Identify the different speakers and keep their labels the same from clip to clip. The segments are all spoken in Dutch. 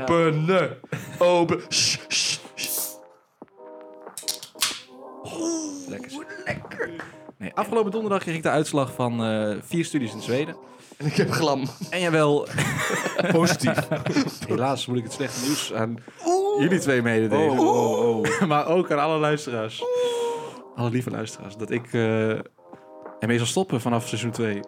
Speaker 1: Openen. Open. Sst, sst, sst.
Speaker 2: Lekker. Nee, afgelopen donderdag kreeg ik de uitslag van eh, vier studies in Zweden.
Speaker 1: En ik heb glam.
Speaker 2: En jawel,
Speaker 3: Positief.
Speaker 2: helaas moet ik het slechte nieuws aan jullie twee mededelen. maar ook aan alle luisteraars. Alle lieve luisteraars. Dat ik eh, ermee zal stoppen vanaf seizoen 2.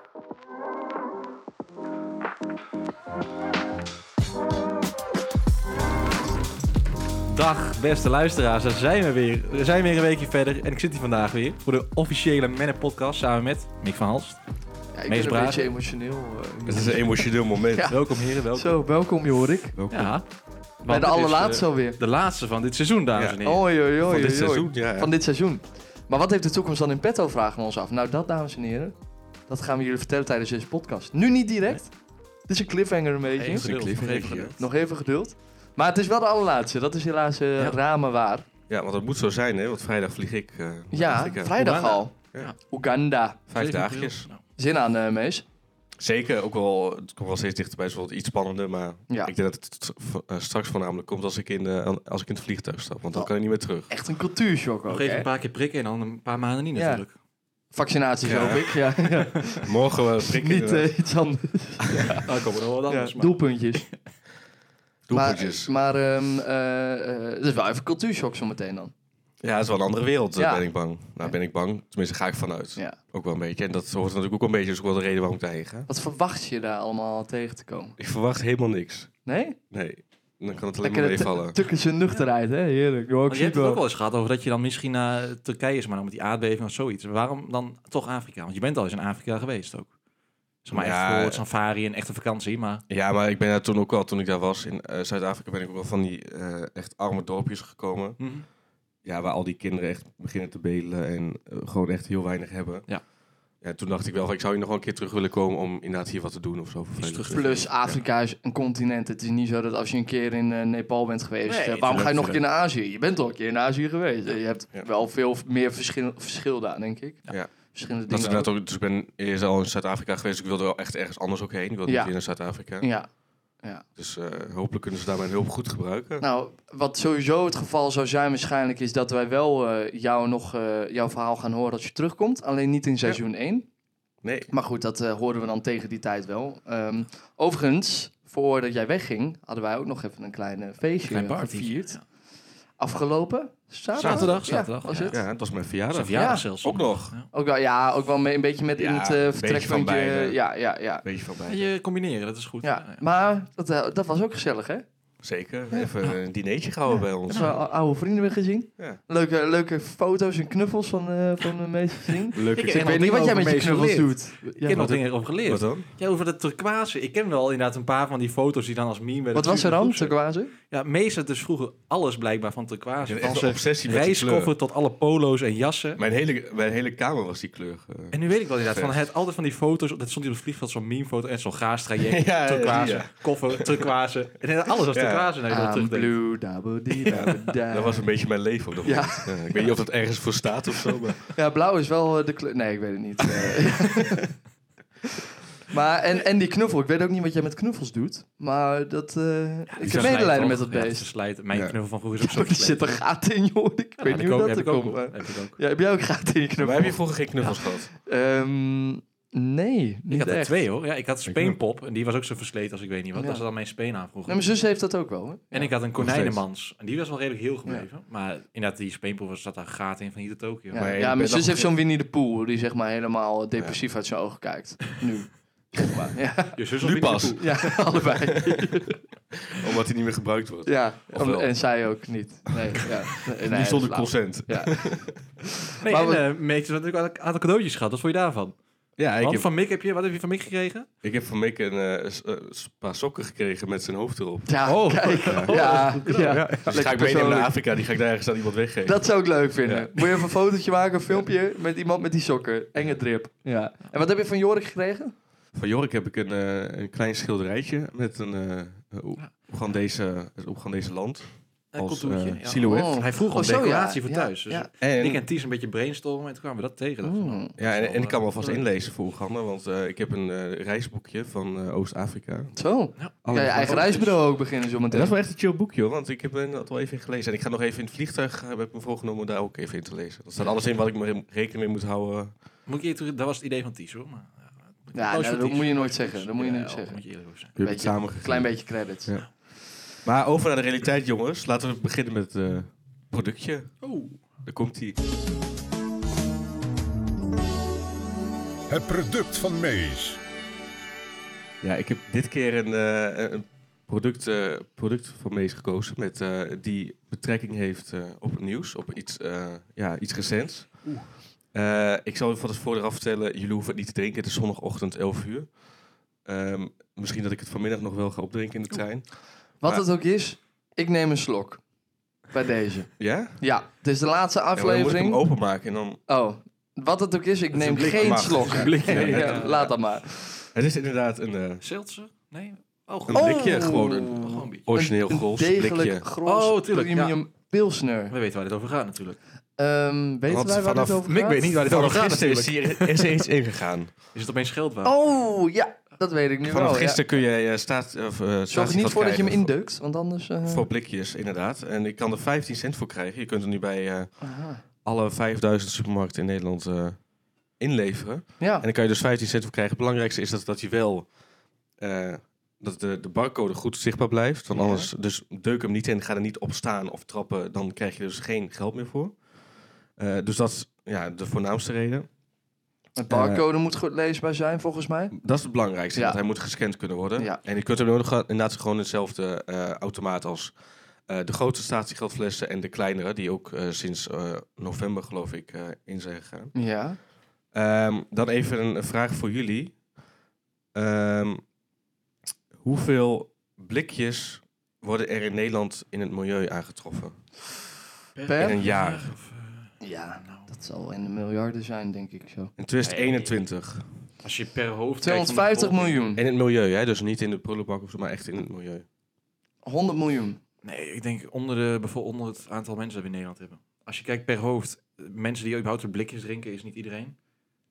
Speaker 2: Dag beste luisteraars, daar zijn we weer. We zijn weer een weekje verder en ik zit hier vandaag weer voor de officiële Mennen podcast samen met Mick van Halst.
Speaker 1: Ja, ik
Speaker 2: Mees
Speaker 1: ben
Speaker 2: Braak.
Speaker 1: een beetje emotioneel. eh,
Speaker 3: Het is een emotioneel moment.
Speaker 1: Ja.
Speaker 2: Welkom heren, welkom.
Speaker 1: Zo, welkom Jorik.
Speaker 3: Welkom.
Speaker 2: Ja.
Speaker 1: Bij
Speaker 2: Want
Speaker 1: de
Speaker 2: dit is,
Speaker 1: allerlaatste
Speaker 2: eh,
Speaker 1: alweer.
Speaker 2: De laatste van dit seizoen, dames
Speaker 3: Ja.
Speaker 2: en heren.
Speaker 1: Oh, oei, oei, oei,
Speaker 3: Van dit
Speaker 1: oei.
Speaker 3: seizoen, ja. ja.
Speaker 1: Van dit seizoen. Maar wat heeft de toekomst dan in petto, vragen we ons af. Nou, dat, dames en heren, dat gaan we jullie vertellen tijdens deze podcast. Nu niet direct. Dit is een cliffhanger een beetje.
Speaker 2: Even geduld,
Speaker 3: cliffhanger,
Speaker 2: nog even
Speaker 3: ja.
Speaker 2: geduld.
Speaker 1: Nog even geduld. Maar het is wel de allerlaatste. Dat is helaas eh,
Speaker 2: Ja.
Speaker 1: ramen waar.
Speaker 3: Ja, want dat moet zo zijn, hè? Want vrijdag vlieg ik. eh, naar
Speaker 1: Ja,
Speaker 3: Afrika.
Speaker 1: vrijdag
Speaker 2: Oeganda.
Speaker 1: al.
Speaker 3: Ja.
Speaker 1: Oeganda.
Speaker 3: Vijf
Speaker 2: 7 april.
Speaker 3: dagjes.
Speaker 2: Nou,
Speaker 1: Zin aan, eh, Mees.
Speaker 3: Zeker, ook wel. Het komt wel steeds dichterbij. Het is wel iets spannender. Maar
Speaker 1: Ja.
Speaker 3: ik denk dat het v- eh, straks voornamelijk komt als ik, in, de- als ik in het vliegtuig stap.
Speaker 1: Oh.
Speaker 3: Want dan kan ik niet meer terug.
Speaker 1: Echt een cultuurshock ook,
Speaker 2: Nog even
Speaker 1: hè?
Speaker 2: een paar keer prikken en dan een paar maanden niet
Speaker 1: Ja.
Speaker 2: natuurlijk.
Speaker 1: Vaccinaties
Speaker 3: Ja.
Speaker 1: hoop ik. Ja, ja.
Speaker 3: Morgen wel prikken.
Speaker 1: Niet eh, iets anders.
Speaker 2: Dan Nou, komen er wel wat anders.
Speaker 1: Ja,
Speaker 2: maar-
Speaker 1: Doelpuntjes.
Speaker 3: Doelpuntjes.
Speaker 1: Maar, maar ehm, eh, eh, het is wel even cultuurshock zo meteen dan.
Speaker 3: Ja, het is wel een andere wereld, eh,
Speaker 1: Ja.
Speaker 3: ben ik bang. Nou, ben ik bang. Tenminste, ga ik vanuit.
Speaker 1: Ja.
Speaker 3: Ook wel een beetje. En dat hoort natuurlijk ook wel een beetje. Dus ook wel de reden waarom ik daarheen ga.
Speaker 1: Wat verwacht je daar allemaal tegen te komen?
Speaker 3: Ik verwacht helemaal niks.
Speaker 1: Nee?
Speaker 3: Nee. Dan kan het alleen maar
Speaker 1: Lekker
Speaker 3: meevallen.
Speaker 1: Tukkense nuchterheid, hè? Heerlijk. Hoor, ik
Speaker 2: Want je
Speaker 1: zie het
Speaker 2: hebt het ook
Speaker 1: wel.
Speaker 2: wel eens gehad over dat je dan misschien naar Turkije is, maar dan met die aardbeving of zoiets. Waarom dan toch Afrika? Want je bent al eens in Afrika geweest ook. Zeg maar
Speaker 3: Ja.
Speaker 2: echt voor het safari en echte vakantie, maar...
Speaker 3: Ja, maar ik ben daar toen ook al, toen ik daar was in eh, Zuid-Afrika, ben ik ook wel van die eh, echt arme dorpjes gekomen. Ja, waar al die kinderen echt beginnen te bedelen en eh, gewoon echt heel weinig hebben.
Speaker 2: Ja.
Speaker 3: Ja, toen dacht ik wel, van, ik zou hier nog wel een keer terug willen komen om inderdaad hier wat te doen of zo. voor
Speaker 2: Iets
Speaker 3: veilig.
Speaker 2: terug-
Speaker 1: Plus, Afrika is een continent. Het is niet zo dat als je een keer in eh, Nepal bent geweest,
Speaker 2: Nee,
Speaker 1: eh, waarom ga je nog een keer
Speaker 2: tuurlijk.
Speaker 1: naar Azië? Je bent al een keer in Azië geweest. Eh, Je hebt
Speaker 3: Ja.
Speaker 1: wel veel meer verschil, verschil daar, denk ik.
Speaker 3: Ja.
Speaker 1: Verschillende
Speaker 3: Dat is
Speaker 1: dingen.
Speaker 3: inderdaad ook, dus ik ben eerst al in Zuid-Afrika geweest, dus ik wilde wel echt ergens anders ook heen. Ik wilde
Speaker 1: Ja.
Speaker 3: niet weer naar Zuid-Afrika.
Speaker 1: Ja.
Speaker 3: Dus eh, hopelijk kunnen ze daar mijn hulp goed gebruiken.
Speaker 1: Nou, wat sowieso het geval zou zijn waarschijnlijk is dat wij wel eh, jou nog, eh, jouw verhaal gaan horen als je terugkomt. Alleen niet in seizoen 1.
Speaker 3: Nee.
Speaker 1: Maar goed, dat eh, hoorden we dan tegen die tijd wel. Ehm, overigens, voordat jij wegging, hadden wij ook nog even een klein eh, feestje
Speaker 2: Klein party.
Speaker 1: gevierd. Afgelopen zaterdag.
Speaker 2: Zaterdag,
Speaker 1: Ja,
Speaker 2: zaterdag,
Speaker 1: was
Speaker 2: ja.
Speaker 1: het?
Speaker 3: Ja, het was mijn
Speaker 2: Dat is een
Speaker 3: verjaardag.
Speaker 2: verjaardag
Speaker 1: Ja,
Speaker 2: zelfs.
Speaker 3: Ook nog.
Speaker 2: Ja.
Speaker 1: Ook wel, ja, ook wel mee, een beetje met in
Speaker 3: Ja,
Speaker 1: het
Speaker 3: een
Speaker 1: eh
Speaker 3: beetje van
Speaker 1: vertrekpuntje.
Speaker 3: beide.
Speaker 1: ja, ja, ja.
Speaker 3: Beetje van bij.
Speaker 2: Je combineren, dat is goed.
Speaker 1: ja. Maar dat, eh, dat was ook gezellig, hè?
Speaker 3: Zeker. Even een dinertje gehouden bij ons.
Speaker 1: Dat we al- oude vrienden weer gezien.
Speaker 3: Ja.
Speaker 1: Leuke, leuke foto's en knuffels van, eh, van de meeste vrienden.
Speaker 3: Leuk.
Speaker 2: Ik-
Speaker 1: Ik,
Speaker 2: ken nog
Speaker 1: weet niet
Speaker 2: dingen
Speaker 1: wat jij met
Speaker 2: over
Speaker 1: je
Speaker 2: meeste
Speaker 1: knuffels
Speaker 2: geleerd.
Speaker 1: doet.
Speaker 2: Ik
Speaker 1: Ja.
Speaker 2: heb nog dingen over
Speaker 3: Wat
Speaker 2: geleerd.
Speaker 3: dan?
Speaker 2: Ja, over dat turquoise. Ik ken wel inderdaad een paar van die foto's die dan als meme werden
Speaker 1: Wat was er dan,
Speaker 2: gestuurd.
Speaker 1: turquoise?
Speaker 2: Ja, Mees had dus vroeger alles blijkbaar van turquoise.
Speaker 3: Ja,
Speaker 2: Van
Speaker 3: echt een
Speaker 2: zijn
Speaker 3: obsessie met die
Speaker 2: reiskoffer tot alle polo's en jassen.
Speaker 3: Mijn hele, mijn hele kamer was die kleur. eh.
Speaker 2: En nu weet ik wel inderdaad, van hij had altijd van die foto's, dat stond hij op het vliegveld, zo'n memefoto en zo'n gaas traject,
Speaker 3: Ja, ja,
Speaker 2: turquoise,
Speaker 3: ja.
Speaker 2: koffer, turquoise. En hij had alles als
Speaker 3: Ja.
Speaker 2: turquoise naar je dan
Speaker 1: I'm
Speaker 2: terugdenkt.
Speaker 1: Ah, blue, double dee, double da.
Speaker 3: dat was een beetje mijn leven op dat
Speaker 1: eh, Ja.
Speaker 3: moment. Ja, ik weet niet of dat ergens voor staat of zo. Maar...
Speaker 1: Ja, blauw is wel eh, de kleur. Nee, ik weet het niet. Eh, maar en, en die knuffel. Ik weet ook niet wat jij met knuffels doet. Maar dat. eh ik heb
Speaker 2: Verslijt
Speaker 1: medelijden met
Speaker 2: toch?
Speaker 1: dat
Speaker 2: Ja,
Speaker 1: beest.
Speaker 2: verslijt. Mijn
Speaker 3: Ja.
Speaker 2: knuffel van vroeger is ook zo
Speaker 1: Er zit een
Speaker 2: verslijt.
Speaker 1: gat in, joh. Ik weet
Speaker 2: Ja, heb
Speaker 1: niet
Speaker 2: ik
Speaker 1: hoe
Speaker 2: ook-
Speaker 1: dat
Speaker 2: heb
Speaker 1: er
Speaker 2: ik ook
Speaker 1: komt.
Speaker 2: nog.
Speaker 1: eh.
Speaker 2: Heb ik ook.
Speaker 1: Ja, heb jij ook gaten in je
Speaker 3: maar
Speaker 1: knuffel?
Speaker 3: heb je vroeger geen knuffels gehad?
Speaker 1: Ehm, nee, niet
Speaker 2: Ik had er
Speaker 1: echt.
Speaker 2: twee hoor. Ja, ik had
Speaker 3: Ik
Speaker 2: Speenpop en die was ook zo versleten als ik weet niet wat.
Speaker 1: Ja.
Speaker 2: Dat was dan mijn speen aan vroeger.
Speaker 1: Nee, mijn zus heeft dat ook wel. Hè?
Speaker 2: En ik had een
Speaker 3: steeds.
Speaker 2: konijnenmans en die was wel redelijk heel gebleven. Maar inderdaad, die Speenpop was- zat daar gaten in van hier tot Tokio.
Speaker 1: Ja,
Speaker 3: Maar
Speaker 1: ja,
Speaker 3: je bent
Speaker 1: mijn
Speaker 3: nog
Speaker 1: zus heeft zo'n Winnie de Poel. Die zeg maar helemaal depressief uit zijn ogen kijkt. Nu. Zeg maar. Ja,
Speaker 2: Je zus
Speaker 3: Nu
Speaker 2: had Winnie de
Speaker 3: pas.
Speaker 2: Pooh.
Speaker 1: ja allebei.
Speaker 3: Omdat die niet meer gebruikt wordt.
Speaker 1: Ja,
Speaker 3: Of
Speaker 1: om-
Speaker 3: wel?
Speaker 1: en zij ook niet. Nee, ja. Nee, nee,
Speaker 3: niet zonder
Speaker 1: flauw.
Speaker 3: consent.
Speaker 1: Ja.
Speaker 2: Nee,
Speaker 1: Maar
Speaker 2: en
Speaker 1: we-
Speaker 2: eh Mees had natuurlijk een aantal cadeautjes gehad. Wat vond je daarvan?
Speaker 3: Ja, ik
Speaker 2: Want
Speaker 3: heb,
Speaker 2: van Mick heb je, wat heb je van Mick gekregen?
Speaker 3: ik heb van Mick een eh, s- eh, s- paar sokken gekregen met zijn hoofd erop.
Speaker 1: Ja,
Speaker 2: Oh.
Speaker 1: kijk. Ja, ja.
Speaker 3: Dus die ga ik meenemen naar Afrika, die ga ik daar ergens aan iemand weggeven.
Speaker 1: Dat zou ik leuk vinden.
Speaker 3: Ja.
Speaker 1: Moet je even een fotootje maken, een filmpje met iemand met die sokken. Enge drip. Ja. En wat heb je van Jorik gekregen?
Speaker 3: Van Jorik heb ik een, eh, een klein schilderijtje met een eh Oegandese, het Oegandese land.
Speaker 2: Een
Speaker 3: als
Speaker 2: contourtje,
Speaker 3: eh,
Speaker 2: ja.
Speaker 3: silhouet.
Speaker 1: Oh.
Speaker 2: Hij vroeg om
Speaker 1: zo, ja.
Speaker 2: decoratie voor
Speaker 1: Ja,
Speaker 2: thuis. Dus
Speaker 1: ja.
Speaker 3: En,
Speaker 2: ik en Ties een beetje brainstormen en toen kwamen we dat tegen. Dat van, oh,
Speaker 1: Mm.
Speaker 3: ja, en, en ik kan me alvast
Speaker 2: Ja.
Speaker 3: inlezen voor Oeganda, want eh, ik heb een eh, reisboekje van eh, Oost-Afrika. Oh,
Speaker 1: Zo. Kan je
Speaker 3: Alle
Speaker 1: eigen
Speaker 3: foto's.
Speaker 1: reisbureau ook beginnen zo
Speaker 3: En dat
Speaker 1: meteen.
Speaker 3: is wel echt een chill boekje, hoor, want ik heb eh, dat wel even in gelezen. En ik ga nog even in het vliegtuig, eh, heb ik me voorgenomen om daar ook even in te lezen. Dat staat alles in wat ik me re- rekening mee moet houden.
Speaker 2: Moet ik je terug, dat was het idee van Ties hoor. Maar, eh,
Speaker 1: Ja,
Speaker 2: Applaus
Speaker 1: nou,
Speaker 2: voor
Speaker 1: dat
Speaker 2: Ties.
Speaker 1: moet je nooit zeggen, dat moet je
Speaker 2: Ja,
Speaker 1: niet
Speaker 2: dat
Speaker 1: zeggen.
Speaker 2: moet je eerlijk over zijn.
Speaker 3: Heb
Speaker 1: Beetje-
Speaker 3: het samen
Speaker 1: Klein beetje credits.
Speaker 3: Ja. Maar over naar de realiteit, jongens. Laten we beginnen met het eh, productje.
Speaker 2: Oh.
Speaker 3: Daar komt hij.
Speaker 4: Het product van Mees.
Speaker 3: Ja, ik heb dit keer een, eh, een product, eh, product van Mees gekozen met, eh, die betrekking heeft eh, op het nieuws, op iets, eh, ja, iets recents. Eh, ik zal van het vooraf vertellen, jullie hoeven het niet te drinken. Het is zondagochtend 11 uur. Ehm, misschien dat ik het vanmiddag nog wel ga opdrinken in de trein.
Speaker 1: Wat
Speaker 3: Maar-
Speaker 1: het ook is, ik neem een slok. Bij deze.
Speaker 3: Ja? Ja, maar
Speaker 1: Ja, het is de laatste
Speaker 3: dan moet ik hem
Speaker 1: aflevering.
Speaker 3: openmaken. En dan...
Speaker 1: Oh, wat het ook is, ik
Speaker 3: Het is
Speaker 1: neem
Speaker 3: een blik,
Speaker 1: geen
Speaker 3: maar-
Speaker 1: slok.
Speaker 3: Een blikje.
Speaker 1: Ja, laat dat maar.
Speaker 3: Het is inderdaad een, eh,
Speaker 2: Seltzer? Nee? Oh,
Speaker 3: een
Speaker 2: gewoon
Speaker 1: Oh.
Speaker 3: blikje, gewoon een
Speaker 2: Gewoon een biertje.
Speaker 3: origineel
Speaker 1: Een- een
Speaker 3: Gols blikje.
Speaker 1: degelijk Grols
Speaker 2: Oh, tuurlijk, ja.
Speaker 1: premium pilsner.
Speaker 2: We weten waar dit over gaat natuurlijk.
Speaker 1: Ehm, weten
Speaker 3: Want
Speaker 1: wij waar
Speaker 3: vanaf-
Speaker 1: het over
Speaker 2: Ik
Speaker 1: gaat?
Speaker 2: weet niet waar dit over
Speaker 3: Vanaf
Speaker 2: gaat
Speaker 3: gisteren is
Speaker 2: natuurlijk.
Speaker 3: hier is er iets ingegaan.
Speaker 2: Is het opeens geldwaard?
Speaker 1: Oh, ja, dat weet ik nu
Speaker 3: Vanaf
Speaker 1: wel. ja.
Speaker 3: gisteren kun jij eh, staat... Of, eh,
Speaker 1: Zorg
Speaker 3: statiegeld
Speaker 1: er niet voor dat je hem
Speaker 3: krijgen voor-
Speaker 1: indeukt, want anders... eh,
Speaker 3: Voor blikjes, inderdaad. En ik kan er 15 cent voor krijgen. Je kunt er nu bij eh,
Speaker 1: aha.
Speaker 3: alle 5000 supermarkten in Nederland eh, inleveren.
Speaker 1: Ja,
Speaker 3: En dan kan je dus 15 cent voor krijgen. Het belangrijkste is dat, dat je wel... eh, dat de, de barcode goed zichtbaar blijft. Want
Speaker 1: Ja.
Speaker 3: anders, dus deuk hem niet in, ga er niet op staan of trappen. Dan krijg je dus geen geld meer voor. Eh, dus dat is ja, de voornaamste reden.
Speaker 1: het barcode moet goed leesbaar zijn, volgens mij.
Speaker 3: Dat is het belangrijkste,
Speaker 1: Ja.
Speaker 3: want hij moet gescand kunnen worden.
Speaker 1: Ja.
Speaker 3: En je kunt hem ook nog inderdaad gewoon in hetzelfde eh, automaat als eh, de grote statiegeldflessen en de kleinere, die ook eh, sinds eh, november, geloof ik, eh, in zijn gegaan.
Speaker 1: Ja.
Speaker 3: Ehm, dan even een vraag voor jullie. Ehm, hoeveel blikjes worden er in Nederland in het milieu aangetroffen?
Speaker 1: Per?
Speaker 3: In een jaar.
Speaker 2: Of, eh,
Speaker 1: Ja,
Speaker 2: nou,
Speaker 1: dat zal in de miljarden zijn, denk ik zo.
Speaker 3: In 2021.
Speaker 2: als je per hoofd kijkt van de
Speaker 1: 250
Speaker 2: bevolking-
Speaker 1: miljoen.
Speaker 3: In het milieu, hè? dus niet in de prullenbak of zo, maar echt in het milieu.
Speaker 1: 100 miljoen.
Speaker 2: Nee, ik denk onder, de, bevo- onder het aantal mensen dat we in Nederland hebben. Als je kijkt per hoofd, eh, mensen die überhaupt uit blikjes drinken, is niet iedereen.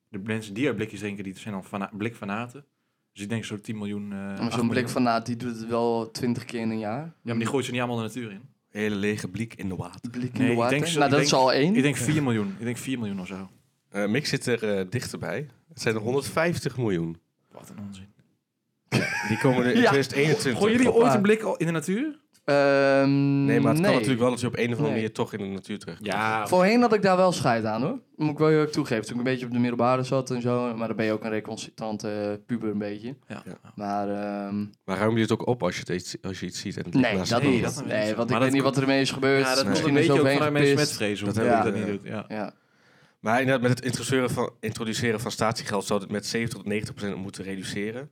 Speaker 2: De mensen die uit blikjes drinken, die zijn al fana- blikfanaten. Dus ik denk zo'n 10 miljoen. eh,
Speaker 1: Maar
Speaker 2: 8
Speaker 1: Zo'n blik
Speaker 2: miljoen.
Speaker 1: van Naat, die doet het wel 20 keer in een jaar.
Speaker 2: Ja, maar die gooit ze niet allemaal de natuur in.
Speaker 3: Hele lege blik in de water.
Speaker 1: Blik in
Speaker 2: Nee,
Speaker 1: de
Speaker 2: ik
Speaker 1: water.
Speaker 2: denk zo-
Speaker 1: nou,
Speaker 2: ik
Speaker 1: dat
Speaker 2: denk-
Speaker 1: is al één.
Speaker 2: Ik denk 4 miljoen. Ik denk 4 miljoen of zo.
Speaker 3: Eh Mick zit er eh, dichterbij. Het zijn er 150 miljoen.
Speaker 2: Wat een onzin.
Speaker 3: Die komen er in
Speaker 1: Ja.
Speaker 3: 2021.
Speaker 2: Gooien jullie
Speaker 3: op.
Speaker 2: ooit een blik al in de natuur?
Speaker 1: Ehm,
Speaker 3: Nee, maar het kan natuurlijk wel dat je op een of andere
Speaker 1: Nee.
Speaker 3: manier toch in de natuur terecht.
Speaker 2: Ja.
Speaker 1: Voorheen had ik daar wel scheid aan hoor. Moet ik wel heel erg toegeven. Toen ik een beetje op de middelbare zat en zo. Maar dan ben je ook een reconcitante puber een beetje.
Speaker 2: Ja.
Speaker 3: Ja.
Speaker 1: Maar ehm,
Speaker 3: Maar ruim je het ook op als je, het iets, als je iets ziet? En het ligt
Speaker 1: nee,
Speaker 3: naast
Speaker 1: dat
Speaker 3: je
Speaker 1: niet.
Speaker 3: hand?
Speaker 2: dat dan weer
Speaker 1: nee,
Speaker 2: niet.
Speaker 1: want
Speaker 2: Maar
Speaker 1: ik
Speaker 2: dat
Speaker 1: weet niet wat ermee is gebeurd.
Speaker 2: Ja, dat komt
Speaker 3: Misschien
Speaker 2: een
Speaker 1: is
Speaker 2: beetje ook
Speaker 1: overheen
Speaker 2: vanuit mensen met
Speaker 1: gepist.
Speaker 2: vrees.
Speaker 3: Dat
Speaker 2: Dat
Speaker 3: hebben
Speaker 2: ik
Speaker 1: we,
Speaker 2: dat niet
Speaker 3: eh,
Speaker 2: doet. Ja.
Speaker 1: Ja.
Speaker 3: Maar inderdaad, met het introduceren van, introduceren van statiegeld zou het met 70 tot 90 procent moeten reduceren.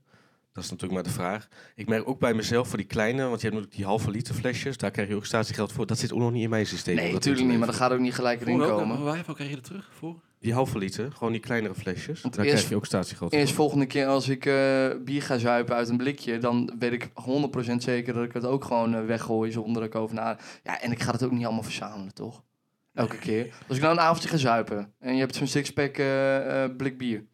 Speaker 3: Dat is natuurlijk maar de vraag. Ik merk ook bij mezelf voor die kleine, want je hebt natuurlijk die halve liter flesjes. Daar krijg je ook statiegeld voor. Dat zit ook nog niet in mijn systeem. om
Speaker 1: Nee,
Speaker 3: dat
Speaker 1: natuurlijk
Speaker 3: in te
Speaker 1: niet. Maar dat gaat
Speaker 3: leveren.
Speaker 1: ook niet gelijk erin
Speaker 2: Voor welke-
Speaker 1: komen.
Speaker 2: Waar waar krijg je dat terug? Voor?
Speaker 3: Die halve liter, gewoon die kleinere flesjes. Daar
Speaker 1: Want eerst-
Speaker 3: krijg je ook statiegeld
Speaker 1: Eerst
Speaker 3: voor.
Speaker 1: volgende keer als ik eh, bier ga zuipen uit een blikje, dan weet ik 100% zeker dat ik het ook gewoon eh, weggooi zonder dat ik over na. Ja, en ik ga het ook niet allemaal verzamelen, toch? Elke keer. Als ik nou een avondje ga zuipen en je hebt zo'n sixpack eh, eh, blik bier.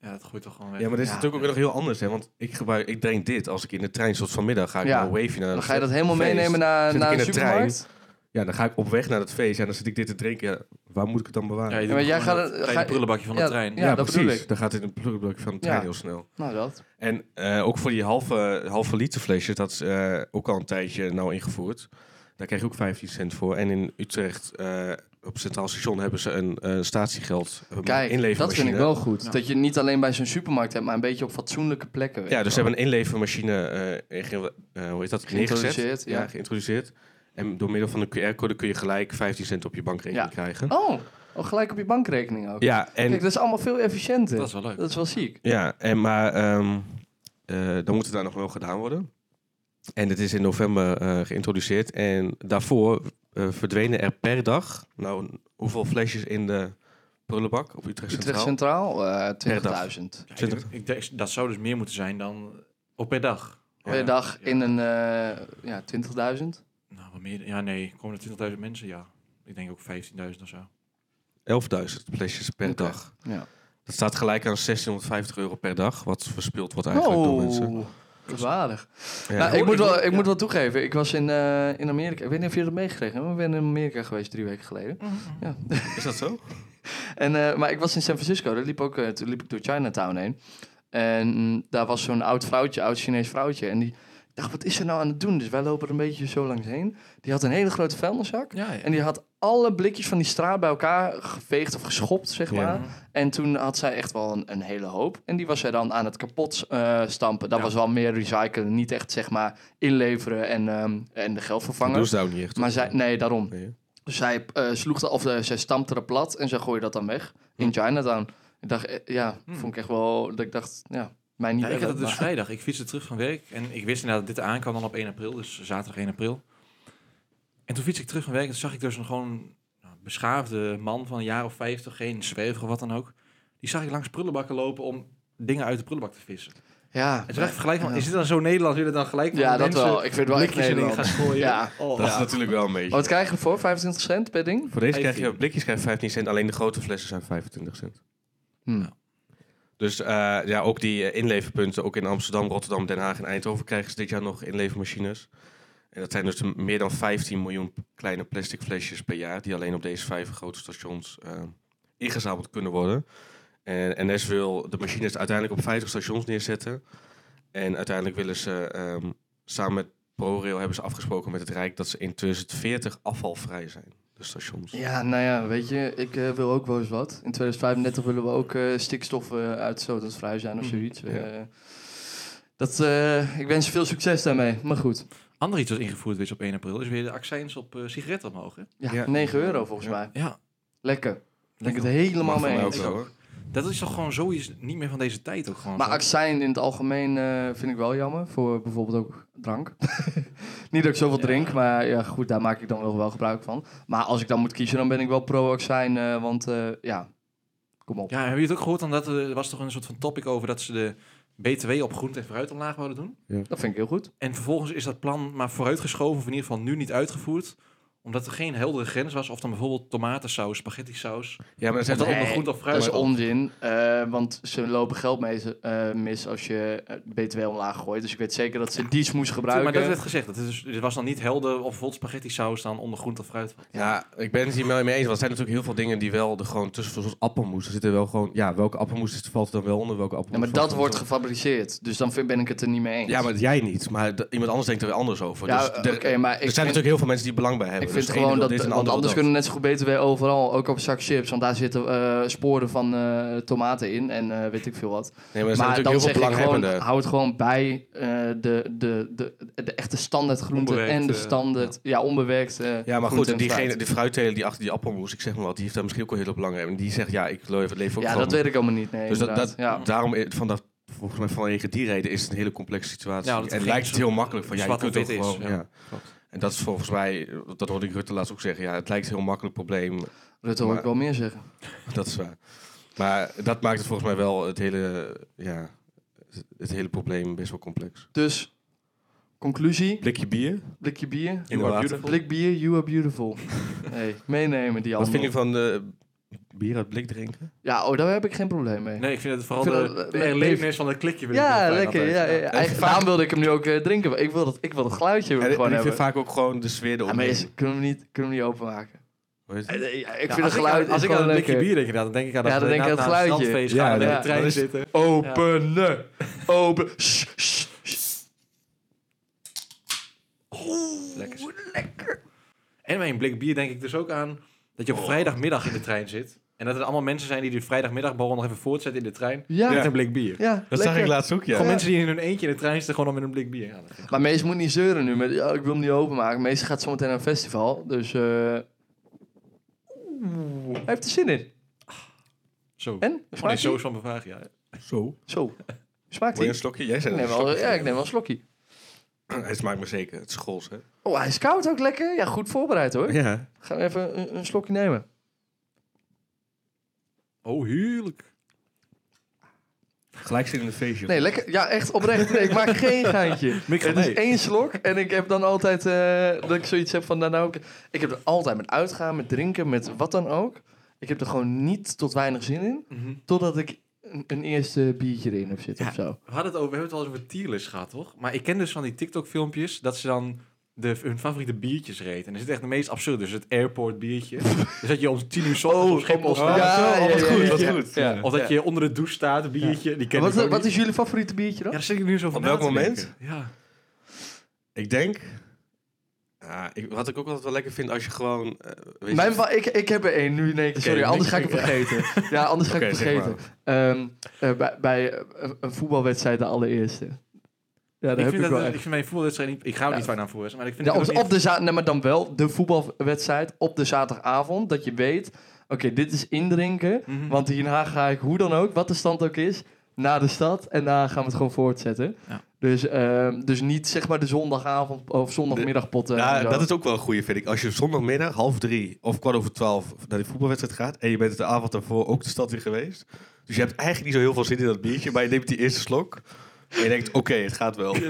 Speaker 2: Ja, dat gooit toch gewoon weg.
Speaker 3: Ja, maar dit is
Speaker 1: Ja.
Speaker 3: natuurlijk ook nog heel anders, hè? Want ik, gebruik, ik drink dit als ik in de trein soort vanmiddag ga ik
Speaker 1: Ja.
Speaker 3: naar een wave naar
Speaker 1: Dan
Speaker 3: een
Speaker 1: ga je dat helemaal
Speaker 3: feest.
Speaker 1: meenemen naar,
Speaker 3: Zit ik
Speaker 1: naar
Speaker 3: in
Speaker 1: een
Speaker 3: de trein?
Speaker 1: supermarkt.
Speaker 3: Ja, dan ga ik op weg naar dat feest en dan zit ik dit te drinken. Ja, waar moet ik het dan bewaren?
Speaker 2: Ja, je
Speaker 3: Ja,
Speaker 1: maar
Speaker 2: doet
Speaker 1: jij
Speaker 2: gewoon
Speaker 1: gaat-
Speaker 2: dat kleine
Speaker 1: ga-
Speaker 2: prullenbakje van de
Speaker 1: ja,
Speaker 2: trein.
Speaker 1: ja. dat bedoel
Speaker 3: precies.
Speaker 1: ik.
Speaker 3: Dan gaat het in een prullenbak van de trein
Speaker 1: Ja.
Speaker 3: heel snel.
Speaker 1: Nou, dat.
Speaker 3: En eh, ook voor die halve, halve liter flesjes, dat is eh, ook al een tijdje nou ingevoerd. Daar krijg je ook 15 cent voor. En in Utrecht, eh, op Centraal Station, hebben ze een eh, statiegeld eh,
Speaker 1: Kijk,
Speaker 3: inlevermachine.
Speaker 1: dat vind ik wel goed.
Speaker 2: Ja.
Speaker 1: Dat je niet alleen bij zo'n supermarkt hebt, maar een beetje op fatsoenlijke plekken. weet
Speaker 3: Ja,
Speaker 1: je
Speaker 3: dus ze
Speaker 1: wel.
Speaker 3: hebben een inlevermachine eh, in ge- eh, hoe heet dat?
Speaker 1: Geïntroduceerd,
Speaker 3: Neergezet.
Speaker 1: ja.
Speaker 3: geïntroduceerd. En door middel van een QR-code kun je gelijk 15 cent op je bankrekening
Speaker 1: Ja.
Speaker 3: krijgen.
Speaker 1: Oh, oh, gelijk op je bankrekening ook.
Speaker 3: Ja, en,
Speaker 1: Kijk, dat is allemaal veel efficiënter.
Speaker 2: Dat is wel leuk.
Speaker 1: Dat is wel ziek.
Speaker 3: ja, en maar ehm, eh, dan moet het daar nog wel gedaan worden. En het is in november eh, geïntroduceerd. En daarvoor eh, verdwenen er per dag, nou, hoeveel flesjes in de prullenbak op Utrecht
Speaker 1: Utrecht
Speaker 3: Centraal?
Speaker 1: Centraal, eh, 20.000.
Speaker 3: 20.000.
Speaker 2: Ja, ik denk- ik denk- dat zou dus meer moeten zijn dan op per dag.
Speaker 1: Per dag in een eh, ja, 20.000.
Speaker 2: Nou, wat meer, ja, nee, komen er 20.000 mensen? Ja. Ik denk ook 15.000 of zo.
Speaker 3: 11.000 flesjes per
Speaker 1: Oké.
Speaker 3: dag.
Speaker 1: Ja.
Speaker 3: Dat staat gelijk aan 1650 euro per dag, wat verspild
Speaker 1: Oh,
Speaker 3: wordt eigenlijk door
Speaker 1: nou,
Speaker 3: mensen.
Speaker 1: Kwaadaardig.
Speaker 3: Ja.
Speaker 1: Nou, ik moet, wel, ik
Speaker 2: ja.
Speaker 1: moet wel toegeven, ik was in, eh, in Amerika. Ik weet niet of je dat meegekregen hebt, maar ik ben in Amerika geweest drie weken geleden. Ja.
Speaker 3: Is dat zo?
Speaker 1: En, eh, maar ik was in San Francisco, daar liep, ook, eh, toen liep ik door Chinatown heen. En mm, daar was zo'n oud vrouwtje, oud Chinees vrouwtje. En die ik dacht, wat is ze nou aan het doen? Dus wij lopen er een beetje zo langs heen. Die had een hele grote vuilniszak.
Speaker 2: Ja, ja.
Speaker 1: En die had alle blikjes van die straat bij elkaar geveegd of geschopt, zeg
Speaker 3: Ja.
Speaker 1: maar. En toen had zij echt wel een, een hele hoop. En die was zij dan aan het kapot eh, stampen. Dat
Speaker 2: Ja.
Speaker 1: was wel meer recyclen. Niet echt, zeg maar, inleveren en, ehm, en de geld
Speaker 3: Dat doen
Speaker 1: vervangen.
Speaker 3: ze daar ook niet echt.
Speaker 1: Maar zij, nee, daarom.
Speaker 3: Nee, hè?
Speaker 1: Dus zij eh, sloeg dat, of eh, zij stampte er plat en zij gooide dat dan weg
Speaker 2: Hm.
Speaker 1: in Chinatown. Ik dacht, eh, ja,
Speaker 2: Hmm.
Speaker 1: vond ik echt wel, dat ik dacht, ja, mij niet.
Speaker 2: Ja, ik had het
Speaker 1: willen,
Speaker 2: dus
Speaker 1: maar-
Speaker 2: vrijdag. Ik fietste terug van werk. En ik wist inderdaad dat dit aan kan dan op 1 april. Dus zaterdag 1 april. En toen fiets ik terug van werk. En toen zag ik dus een gewoon nou, beschaafde man van een jaar of 50. Geen zwerver of wat dan ook. Die zag ik langs prullenbakken lopen om dingen uit de prullenbak te vissen.
Speaker 1: ja,
Speaker 2: En toen dacht ik gelijk van,
Speaker 1: Ja.
Speaker 2: is dit dan zo Nederlands? Willen dan gelijk van
Speaker 1: ja
Speaker 2: de
Speaker 1: dat
Speaker 2: mensen
Speaker 1: wel. Ik vind het wel echt
Speaker 2: blikjes erin gaan
Speaker 1: Nederland.
Speaker 2: gooien?
Speaker 1: Ja.
Speaker 2: Oh,
Speaker 3: Dat is
Speaker 2: ja.
Speaker 3: natuurlijk wel een beetje.
Speaker 1: Wat krijgen we voor? 25 cent per ding?
Speaker 3: Voor deze krijg je
Speaker 2: 15.
Speaker 3: blikjes krijg je 15 cent, alleen de grote flessen zijn 25 cent.
Speaker 1: Hmm.
Speaker 3: Dus eh, ja, ook die eh, inleverpunten, ook in Amsterdam, Rotterdam, Den Haag en Eindhoven krijgen ze dit jaar nog inlevermachines. En dat zijn dus de- meer dan 15 miljoen kleine plastic flesjes per jaar, die alleen op deze vijf grote stations eh, ingezameld kunnen worden. En NS wil de machines uiteindelijk op 50 stations neerzetten. En uiteindelijk willen ze ehm, samen met ProRail hebben ze afgesproken met het Rijk dat ze in 2040 afvalvrij zijn, de stations.
Speaker 1: Ja, nou ja, weet je, ik eh, wil ook wel eens wat. In 2035 willen we ook eh stikstof eh uitstotendvrij zijn of
Speaker 2: Mhm.
Speaker 1: zoiets.
Speaker 3: Ja.
Speaker 1: Eh, dat, eh, ik wens je veel succes daarmee, maar goed.
Speaker 2: Ander iets wat ingevoerd is op 1 april is weer de accijns op eh, sigaretten omhoog. Hè?
Speaker 1: Ja,
Speaker 3: Ja.
Speaker 1: 9 euro volgens mij.
Speaker 2: Ja,
Speaker 1: Lekker. Ben ik het
Speaker 3: Mag
Speaker 1: helemaal
Speaker 3: voor
Speaker 1: mee
Speaker 3: mij
Speaker 1: eens.
Speaker 3: ook wel, hoor.
Speaker 2: dat is toch gewoon zoiets niet meer van deze tijd ook gewoon.
Speaker 1: Maar
Speaker 2: zo?
Speaker 1: accijns in het algemeen eh, vind ik wel jammer. Voor bijvoorbeeld ook drank. Niet dat ik zoveel
Speaker 2: Ja.
Speaker 1: drink, maar ja, goed, daar maak ik dan wel, wel gebruik van. Maar als ik dan moet kiezen, dan ben ik wel pro-accijn. eh, want eh, ja, kom op.
Speaker 2: Ja, hebben jullie het ook gehoord? Dan dat er was toch een soort van topic over dat ze de BTW op groente en fruit omlaag wilden doen.
Speaker 1: Dat vind ik heel goed.
Speaker 2: En vervolgens is dat plan maar vooruitgeschoven, of in ieder geval nu niet uitgevoerd omdat er geen heldere grens was, of dan bijvoorbeeld tomatensaus, spaghetti saus.
Speaker 3: Ja, maar er zijn
Speaker 2: Of dat
Speaker 1: Nee,
Speaker 2: op een groente of fruit.
Speaker 1: Dat is
Speaker 2: komt.
Speaker 1: onzin, eh, want ze lopen geld mee, eh, mis als je eh, BTW omlaag gooit. Dus ik weet zeker dat ze die smoes gebruiken.
Speaker 2: Maar dat werd gezegd. Het, is, het was dan niet helder of bijvoorbeeld spaghetti saus dan onder groente of fruit.
Speaker 3: Ja, ik ben het hier wel mee eens. Want er zijn natuurlijk heel veel dingen die wel er gewoon tussen, zoals appelmoes. Er zitten wel gewoon, ja, welke appelmoes is- valt er dan wel onder, welke appelmoes
Speaker 1: ja, maar
Speaker 3: valt
Speaker 1: dat
Speaker 3: er
Speaker 1: wordt
Speaker 3: niet
Speaker 1: gefabriceerd, dus dan vind, ben ik het er niet mee eens.
Speaker 3: onder? Ja, maar jij niet. Maar d- iemand anders denkt er weer anders over.
Speaker 1: Ja,
Speaker 3: dus
Speaker 1: eh,
Speaker 3: er,
Speaker 1: oké, maar ik
Speaker 3: er zijn
Speaker 1: vind-
Speaker 3: natuurlijk heel veel mensen die belang bij hebben.
Speaker 1: Ik vind
Speaker 3: dus de ene
Speaker 1: gewoon
Speaker 3: wil
Speaker 1: dat,
Speaker 3: dit en de
Speaker 1: want anders
Speaker 3: andere wil
Speaker 1: kunnen net zo goed BTW overal, ook op een zak chips, want daar zitten eh, sporen van eh, tomaten in en eh, weet ik veel wat.
Speaker 3: dat. Nee, maar er zijn
Speaker 1: Maar
Speaker 3: natuurlijk
Speaker 1: dan
Speaker 3: heel veel
Speaker 1: zeg ik gewoon,
Speaker 3: belanghebbenden.
Speaker 1: hou het gewoon bij eh, de, de, de, de echte standaard groenten
Speaker 2: Onbewerkt,
Speaker 1: en de
Speaker 2: eh,
Speaker 1: standaard, ja, onbewerkt eh,
Speaker 3: ja, maar
Speaker 1: groente
Speaker 3: goed,
Speaker 1: en
Speaker 3: diegene,
Speaker 1: fruit.
Speaker 3: die fruitteler die achter die appelmoes, ik zeg maar wat, die heeft daar misschien ook wel heel belangrijke. Die zegt, ja, ik leef, leef ook
Speaker 1: Ja,
Speaker 3: van-
Speaker 1: dat weet ik allemaal niet, nee,
Speaker 3: Dus dat,
Speaker 1: inderdaad.
Speaker 3: dat,
Speaker 1: ja.
Speaker 3: daarom, i- van dat, volgens mij vanwege die reden is het een hele complexe situatie.
Speaker 2: Ja, dat
Speaker 3: en
Speaker 2: het
Speaker 3: lijkt
Speaker 2: geen
Speaker 3: het heel makkelijk van, ja, je
Speaker 2: zwart of
Speaker 3: kunt ook
Speaker 2: wit is,
Speaker 3: gewoon...
Speaker 2: ja.
Speaker 3: ja. En dat is volgens mij, dat hoorde ik Rutte laatst ook zeggen. Ja, het lijkt een heel makkelijk probleem.
Speaker 1: Rutte hoor ik
Speaker 3: maar-
Speaker 1: wel meer zeggen.
Speaker 3: Dat is waar. Maar dat maakt het volgens mij wel het hele, ja, het hele probleem best wel complex.
Speaker 1: Dus, conclusie,
Speaker 3: Blikje bier.
Speaker 1: blikje bier.
Speaker 3: In
Speaker 2: are
Speaker 3: water.
Speaker 2: beautiful.
Speaker 1: Blik bier, you are beautiful. Hey, meenemen die
Speaker 3: Wat
Speaker 1: allemaal.
Speaker 3: vind je van eh, bier uit blik drinken?
Speaker 1: Ja, oh, daar heb ik geen probleem mee.
Speaker 2: Nee, ik vind het vooral
Speaker 1: Ik vind
Speaker 2: de,
Speaker 1: dat-
Speaker 2: de
Speaker 1: le-
Speaker 2: erlevenis van het klikje. wil ik nog
Speaker 1: Ja,
Speaker 2: bijna
Speaker 1: lekker.
Speaker 2: altijd.
Speaker 1: Ja, ja, ja. Eigenlijk, daarom wilde ik hem nu ook eh, drinken. Ik wil dat, ik wil dat geluidje
Speaker 3: En,
Speaker 1: gewoon
Speaker 3: en ik vind
Speaker 1: hebben.
Speaker 3: vaak ook gewoon de sfeer
Speaker 1: Ja,
Speaker 3: erop.
Speaker 1: maar is- kunnen, we niet, kunnen we niet openmaken? Eh, nee, ja, ik
Speaker 2: Ja,
Speaker 1: vind het
Speaker 2: Nou, als ik
Speaker 1: geluid
Speaker 2: aan- Als
Speaker 1: is
Speaker 2: ik aan
Speaker 1: gewoon
Speaker 2: een blikje
Speaker 1: lekker.
Speaker 2: bier denk, dan denk ik aan dat
Speaker 1: Ja, dan
Speaker 2: we
Speaker 1: denk ik aan
Speaker 2: na-
Speaker 1: het
Speaker 2: na een
Speaker 1: geluidje.
Speaker 2: strandfeest
Speaker 3: Ja,
Speaker 2: gaan en in
Speaker 1: ja.
Speaker 2: de trein
Speaker 3: Dat is-
Speaker 2: zitten.
Speaker 1: Openen! Open! Sst, sst, sst.
Speaker 2: Lekker. En bij een blik bier denk ik dus ook aan dat je op vrijdagmiddag in de trein zit. En dat er allemaal mensen zijn die die vrijdagmiddagborrel nog even voortzetten in de trein.
Speaker 1: Ja,
Speaker 2: Met
Speaker 1: ja,
Speaker 2: een blik bier.
Speaker 3: Dat zag
Speaker 1: lekker.
Speaker 3: ik laatst ook, ja.
Speaker 2: Gewoon mensen die in hun eentje in de trein zitten, gewoon al met een blik bier. Ja, dat vind ik-
Speaker 1: Maar Mees moet niet zeuren nu. Met, ja, ik wil hem niet openmaken. Mees gaat zometeen naar een festival. Dus eh, hij heeft er zin in.
Speaker 2: Zo.
Speaker 1: En?
Speaker 2: Gewoon in
Speaker 1: Smaakt
Speaker 2: Soos
Speaker 1: hij?
Speaker 2: van Bavaria.
Speaker 3: Zo.
Speaker 1: Zo. Smaakt
Speaker 3: Wil je een
Speaker 1: hij?
Speaker 3: slokje? Jij zei
Speaker 1: Ik neem
Speaker 3: net een
Speaker 1: wel,
Speaker 3: slokje.
Speaker 1: ja, ik neem wel een slokje.
Speaker 3: Het smaakt me zeker. Het is schools, hè?
Speaker 1: Oh, hij is koud ook lekker. Ja, goed voorbereid hoor.
Speaker 3: Ja.
Speaker 1: Gaan we even een, een slokje nemen.
Speaker 2: Oh, heerlijk.
Speaker 3: Gelijk zit in de feestje.
Speaker 1: Nee, lekker. Ja, echt oprecht. Nee, ik maak geen geintje.
Speaker 2: Mick van
Speaker 1: het is
Speaker 2: nee.
Speaker 1: één slok en ik heb dan altijd eh, dat ik zoiets heb van nou, nou, ik- ik heb er altijd met uitgaan, met drinken, met wat dan ook. Ik heb er gewoon niet tot weinig zin in,
Speaker 2: Mhm.
Speaker 1: totdat ik een, een eerste biertje erin heb zitten
Speaker 2: Ja.
Speaker 1: of zo.
Speaker 2: We, hadden het over, we hebben het al eens over tierlist gehad, toch? Maar ik ken dus van die TikTok-filmpjes dat ze dan de, hun favoriete biertjes reed. En er zit echt de meest absurde, dus het airport biertje. dus dat je om tien uur 's ochtends op Schiphol
Speaker 1: Oh, op-
Speaker 2: staat.
Speaker 1: ja,
Speaker 3: zo,
Speaker 1: ja,
Speaker 3: wat
Speaker 1: ja,
Speaker 3: goed,
Speaker 1: ja,
Speaker 3: wat
Speaker 1: ja.
Speaker 3: goed.
Speaker 1: Ja.
Speaker 2: Of dat je onder de douche staat, een biertje. Die ken ik
Speaker 1: Wat,
Speaker 2: ook
Speaker 1: wat
Speaker 2: niet.
Speaker 1: is jullie favoriete biertje dan?
Speaker 2: Ja, daar zit ik nu zo van
Speaker 3: Op
Speaker 2: na
Speaker 3: welk
Speaker 2: te
Speaker 3: moment?
Speaker 2: denken. Ja.
Speaker 3: Ik denk... Ah, ik, wat ik ook altijd wel lekker vind als je gewoon... eh, weet je-
Speaker 1: Mijn, wa- ik, ik heb er één nu in één keer. Sorry,
Speaker 3: Oké,
Speaker 1: anders ga ik
Speaker 3: niks-
Speaker 1: hem vergeten. Ja, anders ga ik
Speaker 3: Oké,
Speaker 1: hem
Speaker 3: zeg
Speaker 1: vergeten. Ehm, eh, bij bij eh, een- een voetbalwedstrijd de allereerste. Ja, daar
Speaker 2: ik,
Speaker 1: heb
Speaker 2: vind
Speaker 1: ik
Speaker 2: dat, eh,
Speaker 1: wel
Speaker 2: ik
Speaker 1: echt.
Speaker 2: vind mijn voetbalwedstrijd niet... Ik ga ook
Speaker 1: Ja.
Speaker 2: niet fijn aan voetbalwedstrijd, maar ik vind
Speaker 1: Ja,
Speaker 2: het
Speaker 1: op,
Speaker 2: ook
Speaker 1: op de za- nee, maar dan wel de voetbalwedstrijd op de zaterdagavond. Dat je weet, oké, dit is indrinken.
Speaker 2: niet- Mhm.
Speaker 1: Want hierna ga ik, hoe dan ook, wat de stand ook is, naar de stad. En daar gaan we het gewoon voortzetten.
Speaker 2: Ja.
Speaker 1: Dus, ehm, dus niet zeg maar de zondagavond of zondagmiddagpotten.
Speaker 3: Ja,
Speaker 1: en zo.
Speaker 3: dat is ook wel een goeie, vind ik. Als je zondagmiddag half drie of kwart over twaalf naar die voetbalwedstrijd gaat... en je bent de avond daarvoor ook de stad weer geweest... dus je hebt eigenlijk niet zo heel veel zin in dat biertje... maar je neemt die eerste slok en je denkt, oké, het gaat wel.
Speaker 1: dat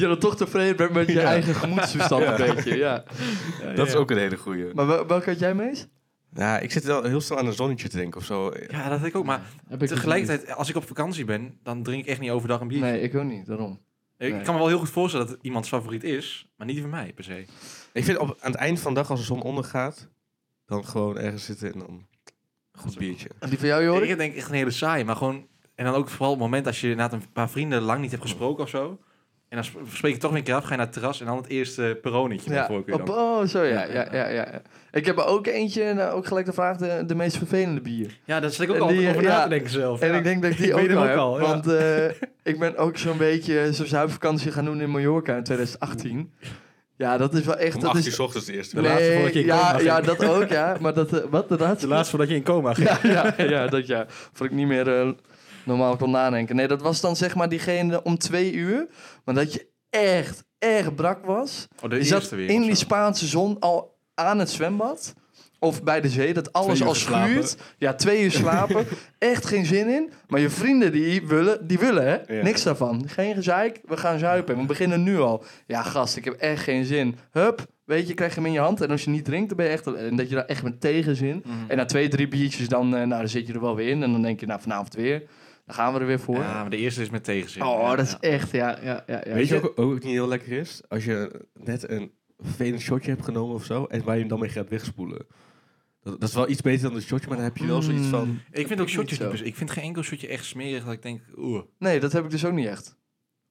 Speaker 1: je dan toch tevreden bent met je eigen gemoedstoestand een beetje. Ja.
Speaker 3: Dat is ook een hele goeie.
Speaker 1: Maar wel- welke had jij meest?
Speaker 3: Ja, ik zit wel heel snel aan een zonnetje te denken of zo. Ja,
Speaker 2: Ja, dat heb ik ook. Maar
Speaker 1: Heb ik
Speaker 2: tegelijkertijd, als ik op vakantie ben, dan drink ik echt niet overdag een biertje.
Speaker 1: Nee, ik ook niet, daarom. nee.
Speaker 2: Ik kan me wel heel goed voorstellen dat het iemands favoriet is, maar niet van mij per se.
Speaker 3: Ik vind op, aan het eind van de dag, als de zon ondergaat... dan gewoon ergens zitten en dan een goed biertje.
Speaker 1: En die van jou, Jorik?
Speaker 2: Ik denk echt een hele saai, maar gewoon... En dan ook vooral op het moment als je na een paar vrienden lang niet hebt gesproken of zo. En dan sp- spreek je toch weer een keer af, ga je naar het terras en dan het eerste peronietje ja,
Speaker 1: Ja,
Speaker 2: voor
Speaker 1: op- oh, zo ja. Ja, ja, ja, ja. Ik heb er ook eentje, en eh, ook gelijk de vraag, de, de meest vervelende bier.
Speaker 2: Ja, daar zit ik
Speaker 1: ook
Speaker 2: ook
Speaker 1: En
Speaker 2: al
Speaker 1: al die-
Speaker 2: over
Speaker 1: over na ja.
Speaker 2: na
Speaker 1: te
Speaker 2: te denken zelf.
Speaker 1: En ik denk dat ik die
Speaker 2: Ik
Speaker 1: ook
Speaker 2: weet
Speaker 1: wel
Speaker 2: hem
Speaker 1: heb.
Speaker 2: ook al, ja.
Speaker 1: Want eh, ik ben ook zo'n beetje zo'n zuipvakantie gaan doen in Mallorca in 2018. Ja, dat is wel echt...
Speaker 3: Om
Speaker 1: dat
Speaker 3: acht
Speaker 1: is,
Speaker 3: uur 's ochtends de eerste.
Speaker 2: laatste
Speaker 1: Nee,
Speaker 2: voordat je in coma
Speaker 1: ja,
Speaker 2: ging.
Speaker 1: ja, dat ook, ja. Maar dat, eh, wat, de laatste?
Speaker 2: voordat je in coma ging.
Speaker 1: ja, ja, ja, dat ja. Voor ik niet meer eh, normaal kon nadenken. Nee, dat was dan zeg maar diegene om twee uur. Maar dat je echt, echt brak was.
Speaker 2: Oh, de
Speaker 1: Je
Speaker 2: eerste
Speaker 1: zat
Speaker 2: weer.
Speaker 1: in
Speaker 2: of
Speaker 1: die
Speaker 2: zo.
Speaker 1: Spaanse zon al aan het zwembad. Of bij de zee, dat alles
Speaker 3: uur
Speaker 1: al
Speaker 3: geslapen.
Speaker 1: schuurt. Ja, twee uur slapen. Echt geen zin in. Maar je vrienden die willen, die willen hè?
Speaker 3: Ja.
Speaker 1: Niks daarvan. Geen gezeik, we gaan zuipen. We beginnen nu al. Ja, gast, ik heb echt geen zin. Hup, weet je, krijg je hem in je hand. En als je niet drinkt, dan ben je echt... En dat je daar echt met tegenzin...
Speaker 2: Mhm.
Speaker 1: En na twee, drie biertjes, dan, eh, nou, dan zit je er wel weer in. En dan denk je, nou, vanavond weer. Dan gaan we er weer voor.
Speaker 2: Ja, maar de eerste is met tegenzin.
Speaker 1: oh,
Speaker 2: Ja,
Speaker 1: dat is
Speaker 2: ja.
Speaker 1: echt, ja, ja, ja. ja.
Speaker 3: Weet je ook, ook niet heel lekker is? Als je net een vervelend shotje hebt genomen of zo... en waar je hem dan mee gaat wegspoelen. Dat, dat is wel iets beter dan een shotje, maar dan heb je wel zoiets van...
Speaker 2: Ik vind ook
Speaker 1: Niet
Speaker 2: shotjes
Speaker 1: zo.
Speaker 2: niet per se- Ik vind geen enkel shotje echt smerig dat ik denk, oeh.
Speaker 1: Nee, dat heb ik dus ook niet echt.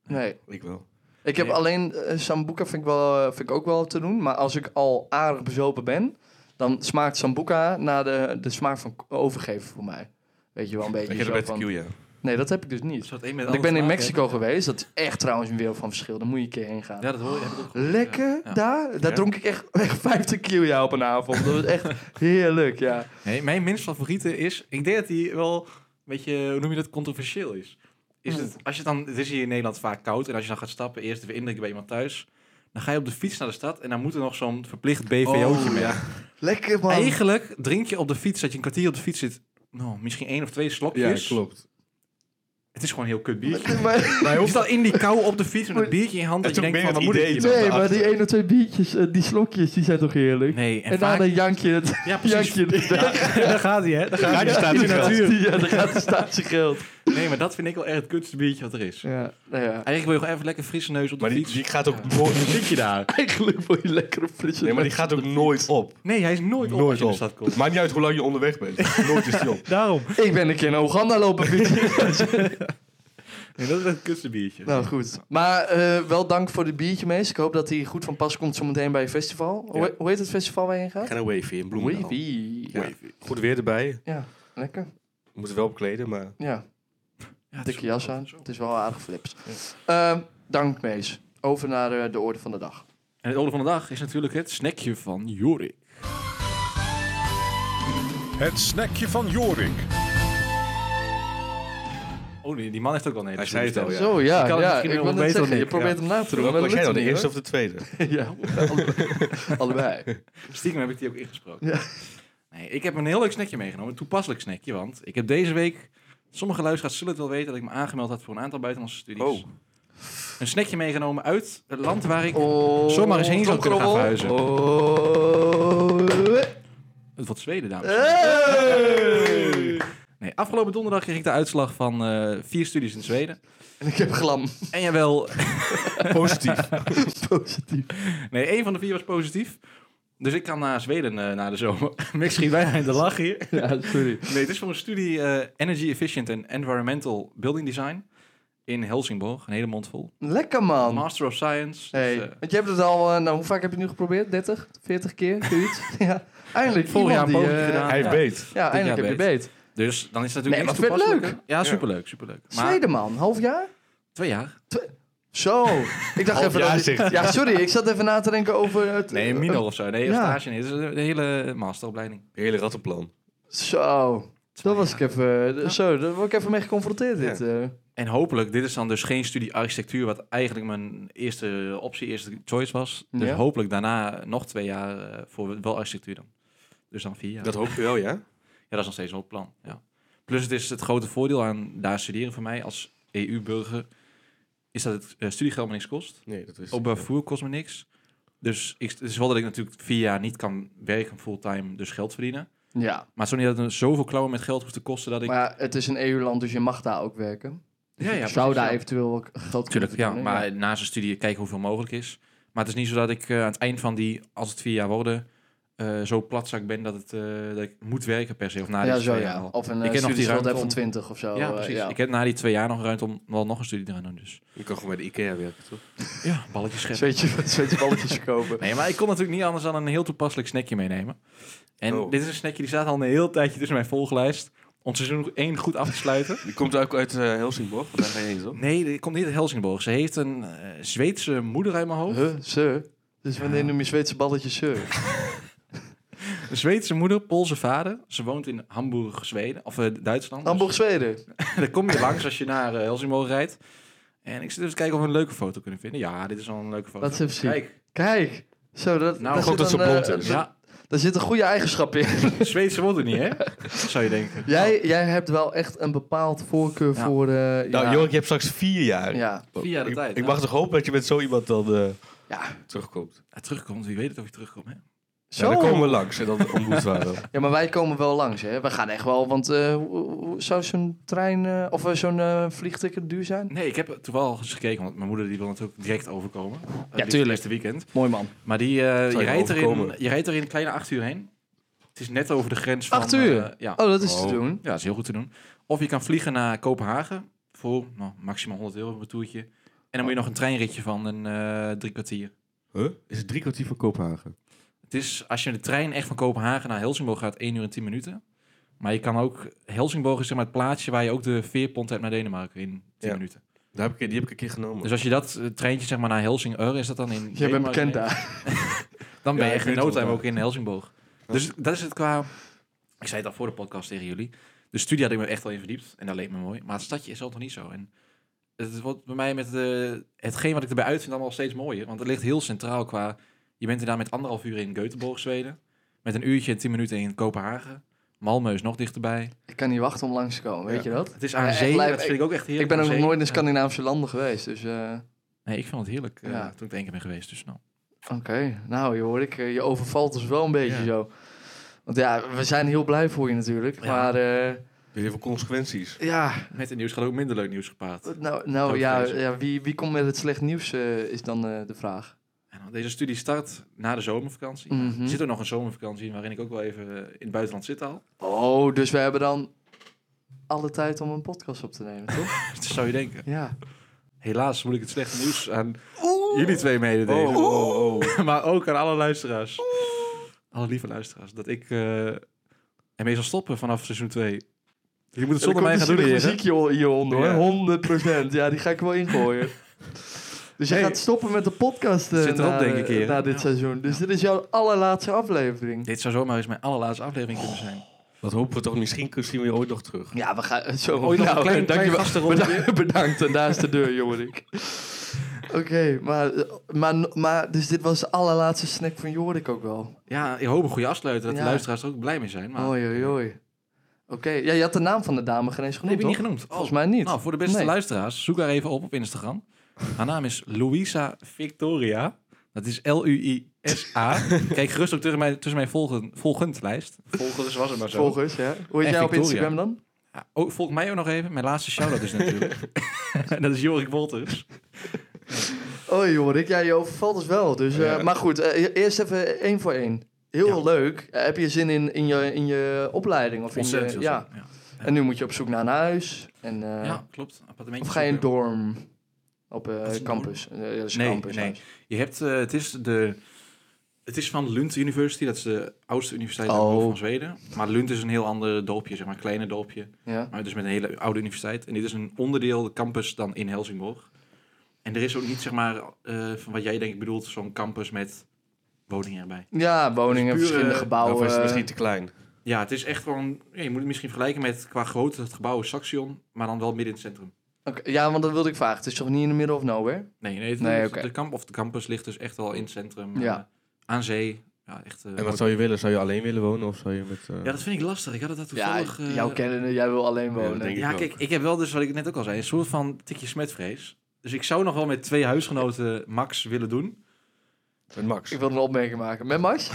Speaker 1: Nee.
Speaker 3: Ik wel.
Speaker 1: Ik heb
Speaker 2: Nee.
Speaker 1: alleen eh, Sambuca vind ik, wel, eh, vind ik ook wel te doen. Maar als ik al aardig bezopen ben, dan smaakt Sambuca naar de, de smaak van k- overgeven voor mij. Weet je wel een beetje.
Speaker 3: Ik heb
Speaker 1: zo
Speaker 3: het bij
Speaker 1: van-
Speaker 3: tequila.
Speaker 1: Nee, dat heb ik dus niet.
Speaker 2: Zou het een met
Speaker 1: Want
Speaker 2: het
Speaker 1: ik ben
Speaker 2: ander
Speaker 1: in
Speaker 2: te maken
Speaker 1: Mexico geweest. Dat is echt trouwens een wereld van verschil. Daar moet je een keer heen gaan.
Speaker 2: hebben? Ja, dat hoor je. heb ik ook gehoord,
Speaker 1: Lekker
Speaker 2: ja. Ja.
Speaker 1: daar. Daar
Speaker 3: Ja?
Speaker 1: dronk ik echt, echt 50 kilo op een avond. Dat was echt heerlijk, ja.
Speaker 2: Nee, mijn minst favoriete is... Ik denk dat die wel een beetje, hoe noem je dat, controversieel is. Is
Speaker 1: Hmm.
Speaker 2: het, als je dan, het is hier in Nederland vaak koud. En als je dan gaat stappen, eerst even indrinken bij iemand thuis. Dan ga je op de fiets naar de stad. En dan moet er nog zo'n verplicht
Speaker 1: Oh,
Speaker 2: BVO'tje mee.
Speaker 1: Lekker man.
Speaker 2: Eigenlijk drink je op de fiets, dat je een kwartier op de fiets zit. Nou, misschien één of twee slokjes.
Speaker 3: klopt.
Speaker 2: Het is gewoon een heel kut biertje.
Speaker 1: Maar-
Speaker 2: Je hoeft dan in die kou op de fiets met een biertje in je hand.
Speaker 3: Het
Speaker 2: Dat je
Speaker 3: is ook
Speaker 2: denkt van,
Speaker 3: meer
Speaker 2: wat
Speaker 3: het
Speaker 2: moet ik
Speaker 3: idee,
Speaker 2: hier nou?
Speaker 3: toch?
Speaker 1: Nee, maar
Speaker 3: achter.
Speaker 1: die één of twee biertjes, eh, die slokjes, die zijn toch heerlijk?
Speaker 2: Nee, en,
Speaker 1: En
Speaker 2: vaak...
Speaker 1: daarna jank je het.
Speaker 2: Ja,
Speaker 1: Jank
Speaker 2: precies.
Speaker 1: je het weg.
Speaker 2: daar gaat hij, hè? Daar
Speaker 3: Ja,
Speaker 2: gaat
Speaker 3: die staat in de natuur.
Speaker 1: Ja, dan gaat de staatje geld.
Speaker 2: Nee, maar dat vind ik wel echt het kutste biertje wat er is.
Speaker 1: Ja, nou ja.
Speaker 2: Eigenlijk wil je gewoon even lekker frisse neus op de
Speaker 3: Maar die,
Speaker 2: fiets.
Speaker 3: die gaat ook nooit...
Speaker 2: zit je daar.
Speaker 1: Eigenlijk wil je lekkere frisse
Speaker 3: Nee, maar die gaat ook nooit op.
Speaker 2: Nee, hij is nooit, op als
Speaker 3: Nooit
Speaker 2: je in de
Speaker 3: op.
Speaker 2: stad komt.
Speaker 3: Maakt niet uit hoe lang je onderweg bent. Nooit is die op.
Speaker 2: Daarom.
Speaker 1: Ik ben een keer naar Oeganda lopen fietsen.
Speaker 2: Nee, dat is het kutste biertje.
Speaker 1: nou, goed. Maar eh, wel dank voor dit biertje, mees. Ik hoop dat hij goed van pas komt zometeen bij je festival. Hoe, hoe heet het festival waar je heen gaat?
Speaker 3: Gaan een wavy in Bloemendaal.
Speaker 1: Wavy.
Speaker 3: Ja. Goed weer erbij.
Speaker 1: Ja, lekker.
Speaker 3: We moeten wel opkleden, maar...
Speaker 1: Ja,
Speaker 2: Ja, het is
Speaker 1: dikke jas aan.
Speaker 2: zo.
Speaker 1: Het is wel aardig flips. Ehm, dank, mees. Over naar eh, de orde van de dag.
Speaker 2: En het orde van de dag is natuurlijk het snackje van Jorik.
Speaker 4: Het snackje van Jorik.
Speaker 2: Oh nee, die man heeft ook wel een hele
Speaker 3: Hij zei het al,
Speaker 2: stem.
Speaker 3: ja.
Speaker 1: Zo, ja.
Speaker 2: Ik kan het
Speaker 1: ja
Speaker 2: misschien
Speaker 1: ik
Speaker 2: nog
Speaker 1: wil
Speaker 2: beter
Speaker 1: net
Speaker 2: dan
Speaker 1: zeggen, je
Speaker 2: ik,
Speaker 1: probeert
Speaker 2: ja.
Speaker 1: hem na te doen. maar
Speaker 3: Was
Speaker 1: dat
Speaker 3: jij nou
Speaker 1: lukt
Speaker 3: de
Speaker 1: hem niet,
Speaker 3: eerste of de tweede?
Speaker 1: hoor. Ja, allebei. allebei.
Speaker 2: Stiekem heb ik die ook ingesproken.
Speaker 1: Ja.
Speaker 2: Nee, ik heb een heel leuk snackje meegenomen. Een toepasselijk snackje, want ik heb deze week Sommige luisteraars zullen het wel weten dat ik me aangemeld had voor een aantal buitenlandse studies.
Speaker 3: Oh.
Speaker 2: Een snackje meegenomen uit het land waar ik...
Speaker 1: Oh,
Speaker 2: Zomaar eens heen zou kunnen gaan
Speaker 1: kromkrobbel. Oh.
Speaker 2: Het wordt Zweden, dames. en heren.
Speaker 1: Hey.
Speaker 2: Nee, afgelopen donderdag kreeg ik de uitslag van eh, vier studies in Zweden.
Speaker 1: En ik heb glam.
Speaker 2: En jawel,
Speaker 3: Positief.
Speaker 1: Positief.
Speaker 2: nee, één van de vier was positief. Dus ik kan naar Zweden eh, na de zomer. Mick schiet bijna in de lach hier.
Speaker 1: Ja, sorry.
Speaker 2: Nee, het is voor een studie eh, Energy Efficient and Environmental Building Design in Helsingborg. Een hele mond vol.
Speaker 1: Lekker man.
Speaker 2: Master of Science.
Speaker 1: Hey,
Speaker 2: Dus, eh,
Speaker 1: want je hebt het al, eh, nou, hoe vaak heb je het nu geprobeerd? 30, 40 keer, zoiets? ja, eindelijk.
Speaker 2: Vorig jaar
Speaker 1: iemand
Speaker 2: een
Speaker 1: die,
Speaker 2: poging
Speaker 1: eh,
Speaker 2: gedaan.
Speaker 3: Hij
Speaker 2: Ja.
Speaker 3: weet.
Speaker 1: Ja, eindelijk heb je beet.
Speaker 2: dus dan is het
Speaker 1: Nee, maar
Speaker 2: natuurlijk niks
Speaker 1: vet
Speaker 2: toepasselijker.
Speaker 1: leuk.
Speaker 2: Ja, superleuk, superleuk. Maar
Speaker 1: Tweede man, half jaar?
Speaker 2: twee jaar.
Speaker 1: Zo. Ik dacht
Speaker 3: Half
Speaker 1: even
Speaker 3: jaar
Speaker 1: dat...
Speaker 3: zegt hij.
Speaker 1: Ja, sorry, ik zat even na te denken over... eh, Het,
Speaker 2: Nee, een minor of zo. Nee,
Speaker 1: Ja.
Speaker 2: een stage. Nee, het is een hele masteropleiding.
Speaker 3: Hele rattenplan.
Speaker 1: Zo. Dat was ik even... Zo, daar word ik even mee geconfronteerd, dit. eh.
Speaker 2: En hopelijk, dit is dan dus geen studie architectuur, wat eigenlijk mijn eerste optie, eerste choice was. Dus
Speaker 1: Ja.
Speaker 2: hopelijk daarna nog twee jaar eh, voor wel architectuur dan. Dus dan vier jaar.
Speaker 3: Dat hoop je wel, ja?
Speaker 2: Ja, dat is nog steeds wel het plan. Ja. Plus het is het grote voordeel aan daar studeren voor mij als EU-burger, is dat het eh, studiegeld me niks kost.
Speaker 3: Nee, dat is.
Speaker 2: Op vervoer kost me niks. Dus ik, het is wel dat ik natuurlijk vier jaar niet kan werken fulltime, dus geld verdienen.
Speaker 1: Ja,
Speaker 2: Maar zo niet dat het me zoveel klauwen met geld hoeft te kosten dat ik...
Speaker 1: maar ja, het is een EU-land, dus je mag daar ook werken.
Speaker 2: ja, ja,
Speaker 1: Zou
Speaker 2: precies,
Speaker 1: daar
Speaker 2: ja.
Speaker 1: eventueel ook geld kunnen
Speaker 2: Tuurlijk, ja.
Speaker 1: verdienen,
Speaker 2: Maar naast de studie kijken hoeveel mogelijk is. Maar het is niet zo dat ik eh, aan het eind van die, als het vier jaar worden, eh, zo platzak ben dat, het, eh, dat ik moet werken per se. Of na
Speaker 1: ja,
Speaker 2: die
Speaker 1: zo
Speaker 2: twee jaar
Speaker 1: ja.
Speaker 2: al.
Speaker 1: Of een uh,
Speaker 2: Ik ken nog die
Speaker 1: studieschuld
Speaker 2: ruimte
Speaker 1: van
Speaker 2: om-
Speaker 1: 20 of zo.
Speaker 2: ja,
Speaker 1: eh,
Speaker 2: precies. Ik heb na die twee jaar nog ruimte om wel nog een studie te gaan doen. Dus
Speaker 3: Je kan gewoon bij de IKEA werken, toch?
Speaker 2: ja, balletjes scheppen.
Speaker 1: Zweetje, zweetje balletjes kopen.
Speaker 2: Nee, maar ik kon natuurlijk niet anders dan een heel toepasselijk snackje meenemen. En
Speaker 3: Oh.
Speaker 2: dit is een snackje die staat al een heel tijdje tussen mijn volglijst. Om seizoen 1 goed af te sluiten.
Speaker 3: Die komt ook uit eh, Helsingborg, want daar ga je heen, toch?
Speaker 2: Nee, die komt niet uit Helsingborg. Ze heeft een eh, Zweedse moeder uit mijn hoofd.
Speaker 1: Huh, sir? Dus wanneer noem je Zweedse balletjes sir?
Speaker 2: Een Zweedse moeder, Poolse vader. Ze woont in Hamburg, Zweden. Of eh, Duitsland.
Speaker 1: Hamburg, Zweden.
Speaker 2: Dus daar kom je langs als je naar eh, Helsingborg rijdt. En ik zit dus te kijken of we een leuke foto kunnen vinden. Ja, dit is al een leuke foto.
Speaker 1: Laat eens even zien.
Speaker 2: Kijk,
Speaker 1: Kijk. Zo, dat,
Speaker 2: Nou,
Speaker 1: daar
Speaker 3: goed
Speaker 1: zit
Speaker 3: dat
Speaker 1: een,
Speaker 3: ze
Speaker 1: eh,
Speaker 3: blond is.
Speaker 1: daar-
Speaker 2: ja,
Speaker 1: Daar zit een goede eigenschap in.
Speaker 2: Zweedse moeder niet, hè? Zou je denken.
Speaker 1: jij, jij hebt wel echt een bepaald voorkeur
Speaker 2: Ja.
Speaker 1: voor... eh
Speaker 3: Nou,
Speaker 1: ja.
Speaker 3: Jorik, je hebt straks vier jaar.
Speaker 1: Ja.
Speaker 2: Vier jaar de
Speaker 3: Ik-
Speaker 2: tijd,
Speaker 3: Ik
Speaker 2: ja.
Speaker 3: mag toch hopen dat je met zo iemand dan eh,
Speaker 1: Ja.
Speaker 3: terugkomt.
Speaker 2: Ja, terugkomt, wie weet het of je terugkomt, hè?
Speaker 1: Zo.
Speaker 3: Ja, dan komen we langs en dan ontmoeten we haar.
Speaker 1: Ja, maar wij komen wel langs, hè. We gaan echt wel, want eh, hoe- hoe- zou zo'n trein... eh, of eh, zo'n eh, vliegticket duur zijn?
Speaker 2: Nee, ik heb toevallig eens gekeken, want mijn moeder die wil natuurlijk direct overkomen.
Speaker 1: tuurlijk.
Speaker 2: Het eerste weekend.
Speaker 1: Mooi man.
Speaker 2: Maar die, eh, je,
Speaker 3: je
Speaker 2: rijdt erin,
Speaker 3: overkomen?
Speaker 2: je rijdt er in een kleine acht uur heen. Het is net over de grens van...
Speaker 1: Acht uur?
Speaker 2: eh, ja.
Speaker 1: Oh, dat is
Speaker 3: Oh.
Speaker 1: te doen.
Speaker 2: Ja, dat is heel goed te doen. Of je kan vliegen naar Kopenhagen voor nou, maximaal 100 euro een toertje. En dan moet je nog een treinritje van een eh, drie kwartier.
Speaker 3: Huh? Is het drie kwartier van Kopenhagen?
Speaker 2: Het is, als je de trein echt van Kopenhagen naar Helsingborg gaat, 1 uur en 10 minuten. Maar je kan ook, Helsingborg is zeg maar het plaatsje waar je ook de veerpont hebt naar Denemarken in 10
Speaker 3: Ja.
Speaker 2: minuten.
Speaker 3: Daar heb ik, die heb ik een keer genomen.
Speaker 2: Dus als je dat eh, treintje zeg maar naar Helsingør, is dat dan in
Speaker 1: Jij bent
Speaker 2: Denemarken
Speaker 1: bekend
Speaker 2: neemt,
Speaker 1: daar.
Speaker 2: Dan ben je
Speaker 3: Ja, ik
Speaker 2: echt in
Speaker 3: weet
Speaker 2: no
Speaker 3: het
Speaker 2: time
Speaker 3: wel.
Speaker 2: ook in Helsingborg. Dus dat is het qua... Ik zei het al voor de podcast tegen jullie. De studie had ik me echt al in verdiept. En dat leek me mooi. Maar het stadje is altijd nog niet zo. En het wordt bij mij met de, hetgeen wat ik erbij uitvind allemaal steeds mooier. Want het ligt heel centraal qua... Je bent er daar met anderhalf uur in Göteborg, Zweden. Met een uurtje en tien minuten in Kopenhagen. Malmö is nog dichterbij.
Speaker 1: Ik kan niet wachten om langs te komen, weet
Speaker 3: Ja.
Speaker 1: je dat?
Speaker 2: Het is aan
Speaker 1: Ja, echt
Speaker 2: zee.
Speaker 1: blij-
Speaker 2: dat vind ik ook echt heerlijk.
Speaker 1: Ik ben ook
Speaker 2: aan
Speaker 1: nog
Speaker 2: zee.
Speaker 1: nooit in
Speaker 2: Ja.
Speaker 1: Scandinavische landen geweest, dus... eh,
Speaker 2: Nee, ik vond het heerlijk eh,
Speaker 1: Ja.
Speaker 2: toen ik er één keer ben geweest. Dus nou.
Speaker 1: Oké, nou je hoor ik, eh, je overvalt ons wel een beetje
Speaker 2: Ja.
Speaker 1: zo. Want ja, we zijn heel blij voor je natuurlijk.
Speaker 2: Ja.
Speaker 1: Maar eh,
Speaker 3: Weer heel veel consequenties.
Speaker 1: ja,
Speaker 2: Met het nieuws gaat ook minder leuk nieuws gepaard.
Speaker 1: nou, nou
Speaker 2: Ook
Speaker 1: ja,
Speaker 2: deze.
Speaker 1: ja wie, wie komt met het slecht nieuws eh, is dan eh, de vraag.
Speaker 2: En dan deze studie start na de zomervakantie.
Speaker 1: Mhm.
Speaker 2: Er zit ook nog een zomervakantie in waarin ik ook wel even eh, in het buitenland zit al.
Speaker 1: Oh, dus we hebben dan alle tijd om een podcast op te nemen, toch?
Speaker 2: Dat Dus zou je denken.
Speaker 1: ja.
Speaker 2: Helaas moet ik het slechte nieuws aan jullie twee
Speaker 3: Oh,
Speaker 2: mededelen.
Speaker 3: oh, oh.
Speaker 2: Maar ook aan alle luisteraars. Alle lieve luisteraars. Dat ik eh en mee zal stoppen vanaf seizoen 2. Je moet het zonder mij gaan doen, heren.
Speaker 1: muziek hier- hieronder
Speaker 2: Ja.
Speaker 1: hoor, 100%. Ja, die ga ik wel ingooien. Dus je
Speaker 2: Hey.
Speaker 1: gaat stoppen met de podcast eh,
Speaker 2: Zit erop,
Speaker 1: na,
Speaker 2: denk ik, hier.
Speaker 1: na dit
Speaker 2: Ja.
Speaker 1: seizoen. Dus dit is jouw allerlaatste aflevering.
Speaker 2: Dit zou zomaar eens mijn allerlaatste aflevering
Speaker 1: Oh.
Speaker 2: kunnen zijn.
Speaker 3: Wat hopen we toch? Misschien zien we je ooit nog terug.
Speaker 1: Ja, we gaan zo.
Speaker 2: Ooit nog een
Speaker 1: Nou,
Speaker 2: klein, klein
Speaker 1: dankjewel.
Speaker 2: gastenrondje.
Speaker 1: Bedankt, bedankt. En daar is de deur, Jorik. Oké, maar, maar, maar dus dit was de allerlaatste snack van Jorik ook wel.
Speaker 2: Ja, ik hoop een goede afsluiter. Dat
Speaker 1: Ja. Oh,
Speaker 2: de luisteraars er ook blij mee zijn. Maar
Speaker 1: Oei, oei, oei. ja, je had de naam van de dame geen eens
Speaker 2: Nee,
Speaker 1: genoemd,
Speaker 2: heb ik niet
Speaker 1: toch?
Speaker 2: genoemd. Oh.
Speaker 1: Volgens mij niet.
Speaker 2: Nou, voor de beste
Speaker 1: Nee.
Speaker 2: luisteraars, zoek haar even op op Instagram. Haar naam is Louisa Victoria. Dat is L-U-I-S-A. Kijk gerust ook tussen mijn, tussen mijn volgen, volgend lijst. Volgens was het maar
Speaker 1: Volgens, ja. Hoe
Speaker 2: En
Speaker 1: heet jij op
Speaker 2: Victoria.
Speaker 1: Instagram dan?
Speaker 2: Ja, oh, volg mij ook nog even. Mijn laatste shout-out is natuurlijk. en dat is Jorik Wolters.
Speaker 1: Oh Jorik, ja, je overvalt dus wel. Dus, eh,
Speaker 3: Ja.
Speaker 1: Maar goed, eh, eerst even één voor één. Heel leuk. Eh, heb je zin in, in, je, in je opleiding? Of in je,
Speaker 2: Ontzettend.
Speaker 1: ja.
Speaker 2: ja.
Speaker 1: En nu moet je op zoek naar een huis. En, eh,
Speaker 2: Ja, klopt. Appartementje
Speaker 1: Of ga je in
Speaker 2: zoeken.
Speaker 1: dorm op eh,
Speaker 2: Wat is een
Speaker 1: campus? Eh, ja, dat is een
Speaker 2: Nee,
Speaker 1: campus
Speaker 2: nee. Je hebt, eh, het is de... Het is van Lund University, dat is de oudste universiteit uit mijn
Speaker 1: Oh.
Speaker 2: hoofd van Zweden. Maar Lund is een heel ander dorpje, zeg maar, een kleiner dorpje.
Speaker 1: Ja.
Speaker 2: Maar dus met een hele oude universiteit. En dit is een onderdeel, de campus dan in Helsingborg. En er is ook niet, zeg maar, eh, van wat jij denk ik bedoelt, zo'n campus met woningen erbij.
Speaker 1: ja, woningen,
Speaker 2: Dus pure-
Speaker 1: verschillende gebouwen.
Speaker 3: of is Nou, het misschien te klein?
Speaker 2: Ja, het is echt gewoon, ja, je moet het misschien vergelijken met qua grootte het gebouw is Saxion, maar dan wel midden in het centrum.
Speaker 1: Oké, ja, want dat wilde ik vragen. Het is toch niet in de middle of nowhere?
Speaker 2: Nee, nee, het-
Speaker 1: Nee,
Speaker 2: het-
Speaker 1: oké.
Speaker 2: de, kamp, of de campus ligt dus echt wel in het centrum.
Speaker 1: Ja.
Speaker 2: eh, aan zee. Ja, echt, eh,
Speaker 3: En
Speaker 2: mooi.
Speaker 3: wat zou je willen? Zou je alleen willen wonen of zou je met... eh,
Speaker 2: ja, dat vind ik lastig. Ik had het daar
Speaker 1: Ja,
Speaker 2: toevallig... eh,
Speaker 1: jouw kennende, jij wil alleen
Speaker 3: dat
Speaker 1: wonen.
Speaker 3: denk ik
Speaker 2: ja,
Speaker 3: wel.
Speaker 2: kijk, ik heb wel dus, wat ik net ook al zei, een soort van tikje smetvrees. Dus ik zou nog wel met twee huisgenoten max willen doen.
Speaker 3: Met Max?
Speaker 1: ik wil een opmerking maken. Met Max?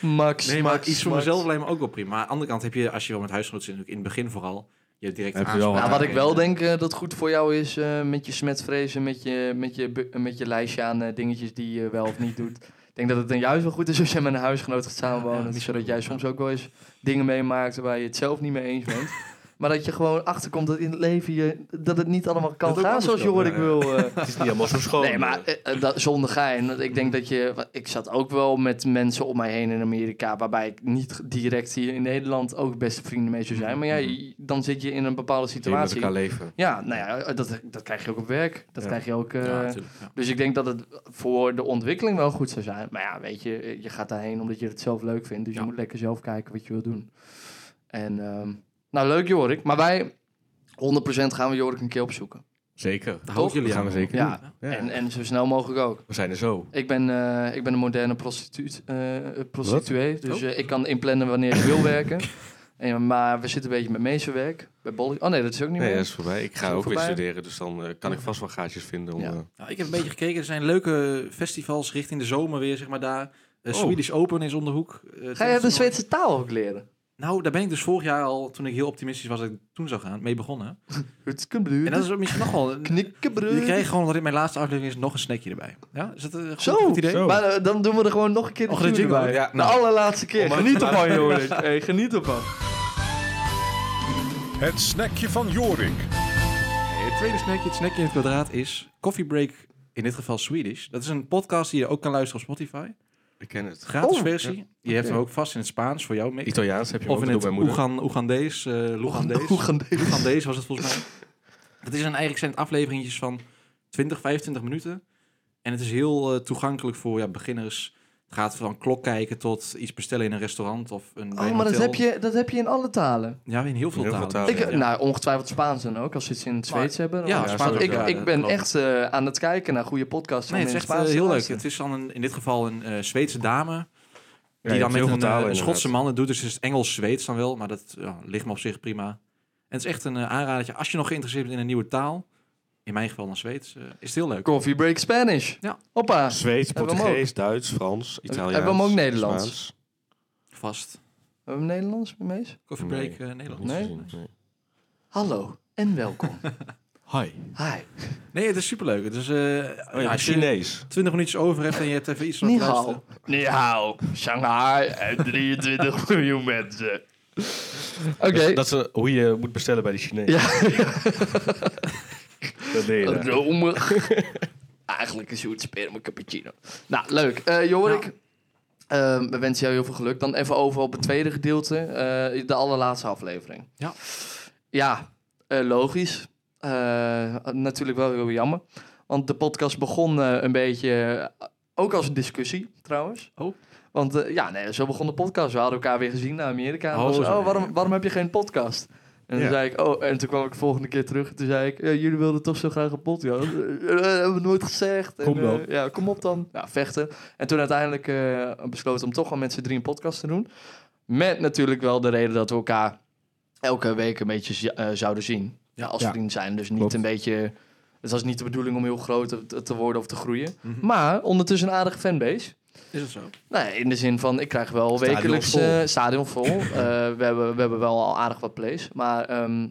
Speaker 1: Max,
Speaker 2: Nee,
Speaker 1: Max,
Speaker 2: maar iets voor
Speaker 1: Max.
Speaker 2: mezelf lijkt me ook wel prima. Maar aan de andere kant heb je, als je wel met huisgenoten zit, natuurlijk in het begin vooral, je hebt direct
Speaker 3: Heb je
Speaker 2: aanspraak.
Speaker 3: wel
Speaker 1: Nou, wat ik wel
Speaker 2: En,
Speaker 1: denk eh, dat goed voor jou is eh, met je smetvrees en met je, met, je, bu- met je lijstje aan eh, dingetjes die je wel of niet doet. Ik denk dat het dan juist wel goed is als je met een huisgenoot gaat samenwonen.
Speaker 2: Ja, ja,
Speaker 1: zodat jij soms ook wel eens dingen meemaakt waar je het zelf niet mee eens bent. maar dat je gewoon achterkomt dat in het leven je, dat het niet allemaal kan
Speaker 3: Dat het ook
Speaker 1: gaan zoals
Speaker 3: anders kan,
Speaker 1: Jorik
Speaker 3: ja, ja.
Speaker 1: wil. eh.
Speaker 3: Het is niet allemaal zo schoon.
Speaker 1: Nee, maar eh, eh, dat, zonder gein. Want ik denk dat je... want Ik zat ook wel met mensen om mij heen in Amerika... waarbij ik niet direct hier in Nederland ook beste vrienden mee zou zijn. Maar ja, je- dan zit je in een bepaalde
Speaker 3: Je moet met
Speaker 1: situatie.
Speaker 3: elkaar leven.
Speaker 1: Ja, nou ja, dat, dat krijg je ook op werk. Dat
Speaker 3: Ja.
Speaker 1: krijg je ook... eh,
Speaker 2: eh, ja, natuurlijk, ja.
Speaker 1: dus ik denk dat het voor de ontwikkeling wel goed zou zijn. Maar ja, weet je, eh, je gaat daarheen omdat je het zelf leuk vindt. Dus
Speaker 2: Ja.
Speaker 1: je moet lekker zelf kijken wat je wil doen. En, ehm, nou, leuk Jorik. Maar wij, 100% gaan we Jorik een keer opzoeken.
Speaker 3: Zeker.
Speaker 2: Daar houden jullie
Speaker 3: Dat gaan
Speaker 2: aan.
Speaker 3: we zeker
Speaker 1: Ja,
Speaker 2: Ja.
Speaker 3: doen. Ja.
Speaker 1: En, eh, en zo snel mogelijk ook.
Speaker 3: We zijn er zo.
Speaker 1: Ik ben, eh, ik ben een moderne prostituut, eh, prostituee. Dus
Speaker 2: Oh.
Speaker 1: eh, ik kan inplannen wanneer ik wil werken. En, maar we zitten een beetje met meesterwerk. Bij Bolly. Oh nee, dat is ook niet
Speaker 3: Nee,
Speaker 1: meer.
Speaker 3: dat is voorbij. Ik
Speaker 1: Is
Speaker 3: ga
Speaker 1: ook
Speaker 3: ook weer
Speaker 1: voorbij.
Speaker 3: studeren, dus dan eh, kan ik vast wel gaatjes vinden. Om,
Speaker 1: Ja.
Speaker 3: eh,
Speaker 2: Nou, ik heb een beetje gekeken. Er zijn leuke festivals richting de zomer weer, zeg maar daar. Eh,
Speaker 3: Oh.
Speaker 2: Swedish Open is om de hoek. Eh,
Speaker 1: Ga je de
Speaker 2: tennis-
Speaker 1: Zweedse taal ook leren?
Speaker 2: Nou, daar ben ik dus vorig jaar al, toen ik heel optimistisch was dat ik toen zou gaan, mee begonnen.
Speaker 1: Het
Speaker 2: En dat is ook misschien nog wel... een-
Speaker 1: knikkenbrug.
Speaker 2: Je kreeg gewoon, wat in mijn laatste aflevering is, nog een snackje erbij. Ja, is dat een goed,
Speaker 1: Zo,
Speaker 2: goed idee?
Speaker 3: Zo.
Speaker 1: Maar eh, dan doen we er gewoon nog een keer de
Speaker 2: Och, de
Speaker 1: tune
Speaker 2: jingle.
Speaker 1: bij.
Speaker 3: Ja,
Speaker 1: De
Speaker 2: nou.
Speaker 1: allerlaatste keer.
Speaker 3: Om-
Speaker 1: Geniet ervan, Jorik. Hey, geniet ervan.
Speaker 4: Het snackje van Jorik.
Speaker 2: Hey, Het tweede snackje, het snackje in het kwadraat, is Coffee Break, in dit geval Swedish. Dat is een podcast die je ook kan luisteren op Spotify.
Speaker 3: ik ken het.
Speaker 2: Gratis
Speaker 1: Oh,
Speaker 2: versie. Je hebt hem ook vast in het Spaans voor jou mee.
Speaker 3: Italiaans heb je
Speaker 2: Of
Speaker 3: ook
Speaker 2: in
Speaker 3: door
Speaker 2: het
Speaker 3: mijn moeder.
Speaker 2: Oegan, Oegandees. eh Lugandees.
Speaker 1: Hoe gaan deze?
Speaker 2: Oegandees was het volgens mij. Het is een, eigenlijk zijn het afleveringetjes van 20, 25 minuten. En het is heel eh, toegankelijk voor ja, beginners. Het gaat van klok kijken tot iets bestellen in een restaurant of een bij
Speaker 1: Oh,
Speaker 2: een
Speaker 1: maar dat
Speaker 2: hotel.
Speaker 1: heb, je, dat heb je in alle talen.
Speaker 2: Ja, in heel veel
Speaker 3: In heel veel
Speaker 2: talen.
Speaker 3: talen,
Speaker 1: Ik,
Speaker 3: ja.
Speaker 1: Nou, ongetwijfeld Spaans dan ook, als ze iets in het
Speaker 2: Oh, Maar-
Speaker 1: Zweeds hebben.
Speaker 2: Ja,
Speaker 1: Of-
Speaker 3: ja,
Speaker 2: Spaans
Speaker 1: Want
Speaker 2: ook,
Speaker 1: ik,
Speaker 2: ja,
Speaker 1: ik
Speaker 2: dat
Speaker 1: ben
Speaker 2: klopt.
Speaker 1: echt eh, aan het kijken naar goede podcasts. om
Speaker 2: Nee, het is
Speaker 1: in
Speaker 2: echt eh,
Speaker 1: Spaans te
Speaker 2: heel leuk.
Speaker 1: luisteren.
Speaker 2: Het is dan een, in dit geval een eh, Zweedse dame. Die
Speaker 3: je
Speaker 2: dan
Speaker 3: hebt
Speaker 2: met
Speaker 3: heel
Speaker 2: een,
Speaker 3: veel talen
Speaker 2: eh, een
Speaker 3: inderdaad.
Speaker 2: Schotse man het doet. Dus het is Engels-Zweeds dan wel. Maar dat ja, ligt me op zich prima. En het is echt een eh, aanradertje. Als je nog geïnteresseerd bent in een nieuwe taal. In mijn geval dan Zweeds. eh, is het heel leuk.
Speaker 1: Coffee Break Spanish.
Speaker 2: Ja.
Speaker 1: Hoppa.
Speaker 3: Zweeds,
Speaker 1: Hebben we hem ook?
Speaker 3: Portugees, Duits, Frans, Italiaans.
Speaker 1: Hebben we hem ook Nederlands?
Speaker 3: Spaans.
Speaker 2: Vast.
Speaker 1: Hebben we Nederlands, mees?
Speaker 2: Coffee break
Speaker 3: Nee.
Speaker 2: eh, Nederland.
Speaker 3: Niet
Speaker 1: Nee?
Speaker 3: gezien, nee.
Speaker 1: Hallo en welkom.
Speaker 3: Hi.
Speaker 1: Hi.
Speaker 2: Nee, het is superleuk. Het is, eh,
Speaker 3: Oh
Speaker 2: ja,
Speaker 3: ja,
Speaker 2: als je
Speaker 3: Chinees.
Speaker 2: 20 minuutjes over hebt en je hebt even iets wat
Speaker 1: Ni
Speaker 2: luisteren.
Speaker 1: hao. Ni hao. Shanghai en 23 miljoen mensen. Oké.
Speaker 3: Dat is eh, hoe je moet bestellen bij de Chinees.
Speaker 1: Ja.
Speaker 3: Dat deed je daar.
Speaker 1: Rome. eh, Eigenlijk een zoet sperma cappuccino. Nou, leuk. Eh Jorik, eh, we wensen jou heel veel geluk. Dan even over op het tweede gedeelte. eh, de allerlaatste aflevering.
Speaker 2: Ja.
Speaker 1: Ja, eh, logisch. Eh, natuurlijk wel heel jammer. Want de podcast begon eh, een beetje... eh, ook als een discussie, trouwens.
Speaker 2: Oh.
Speaker 1: Want eh, ja, nee, zo begon de podcast. We hadden elkaar weer gezien naar Amerika. En
Speaker 2: Oh,
Speaker 1: was,
Speaker 2: zo.
Speaker 1: oh waarom, waarom heb je geen podcast? En toen
Speaker 3: Ja.
Speaker 1: zei ik, oh, en toen kwam ik de volgende keer terug. En toen zei ik, ja, jullie wilden toch zo graag een podcast. Eh, eh, hebben we nooit gezegd. En,
Speaker 3: Kom dan.
Speaker 1: eh, ja, kom op dan. Ja, vechten. En toen uiteindelijk eh, besloten om toch wel met z'n drie een podcast te doen. Met natuurlijk wel de reden dat we elkaar elke week een beetje zi- eh, zouden zien. Ja, als
Speaker 5: Ja.
Speaker 1: vriend zijn. Dus niet
Speaker 5: Klopt.
Speaker 1: een beetje... Het was niet de bedoeling om heel groot te- te worden of te groeien.
Speaker 2: Mhm.
Speaker 1: Maar ondertussen een aardige fanbase.
Speaker 2: Is het zo?
Speaker 1: Nee, in de zin van, ik krijg wel
Speaker 5: Stadion
Speaker 1: wekelijks...
Speaker 5: vol.
Speaker 1: eh, stadion vol. Eh, we, hebben, we hebben wel al aardig wat plays. Maar ehm,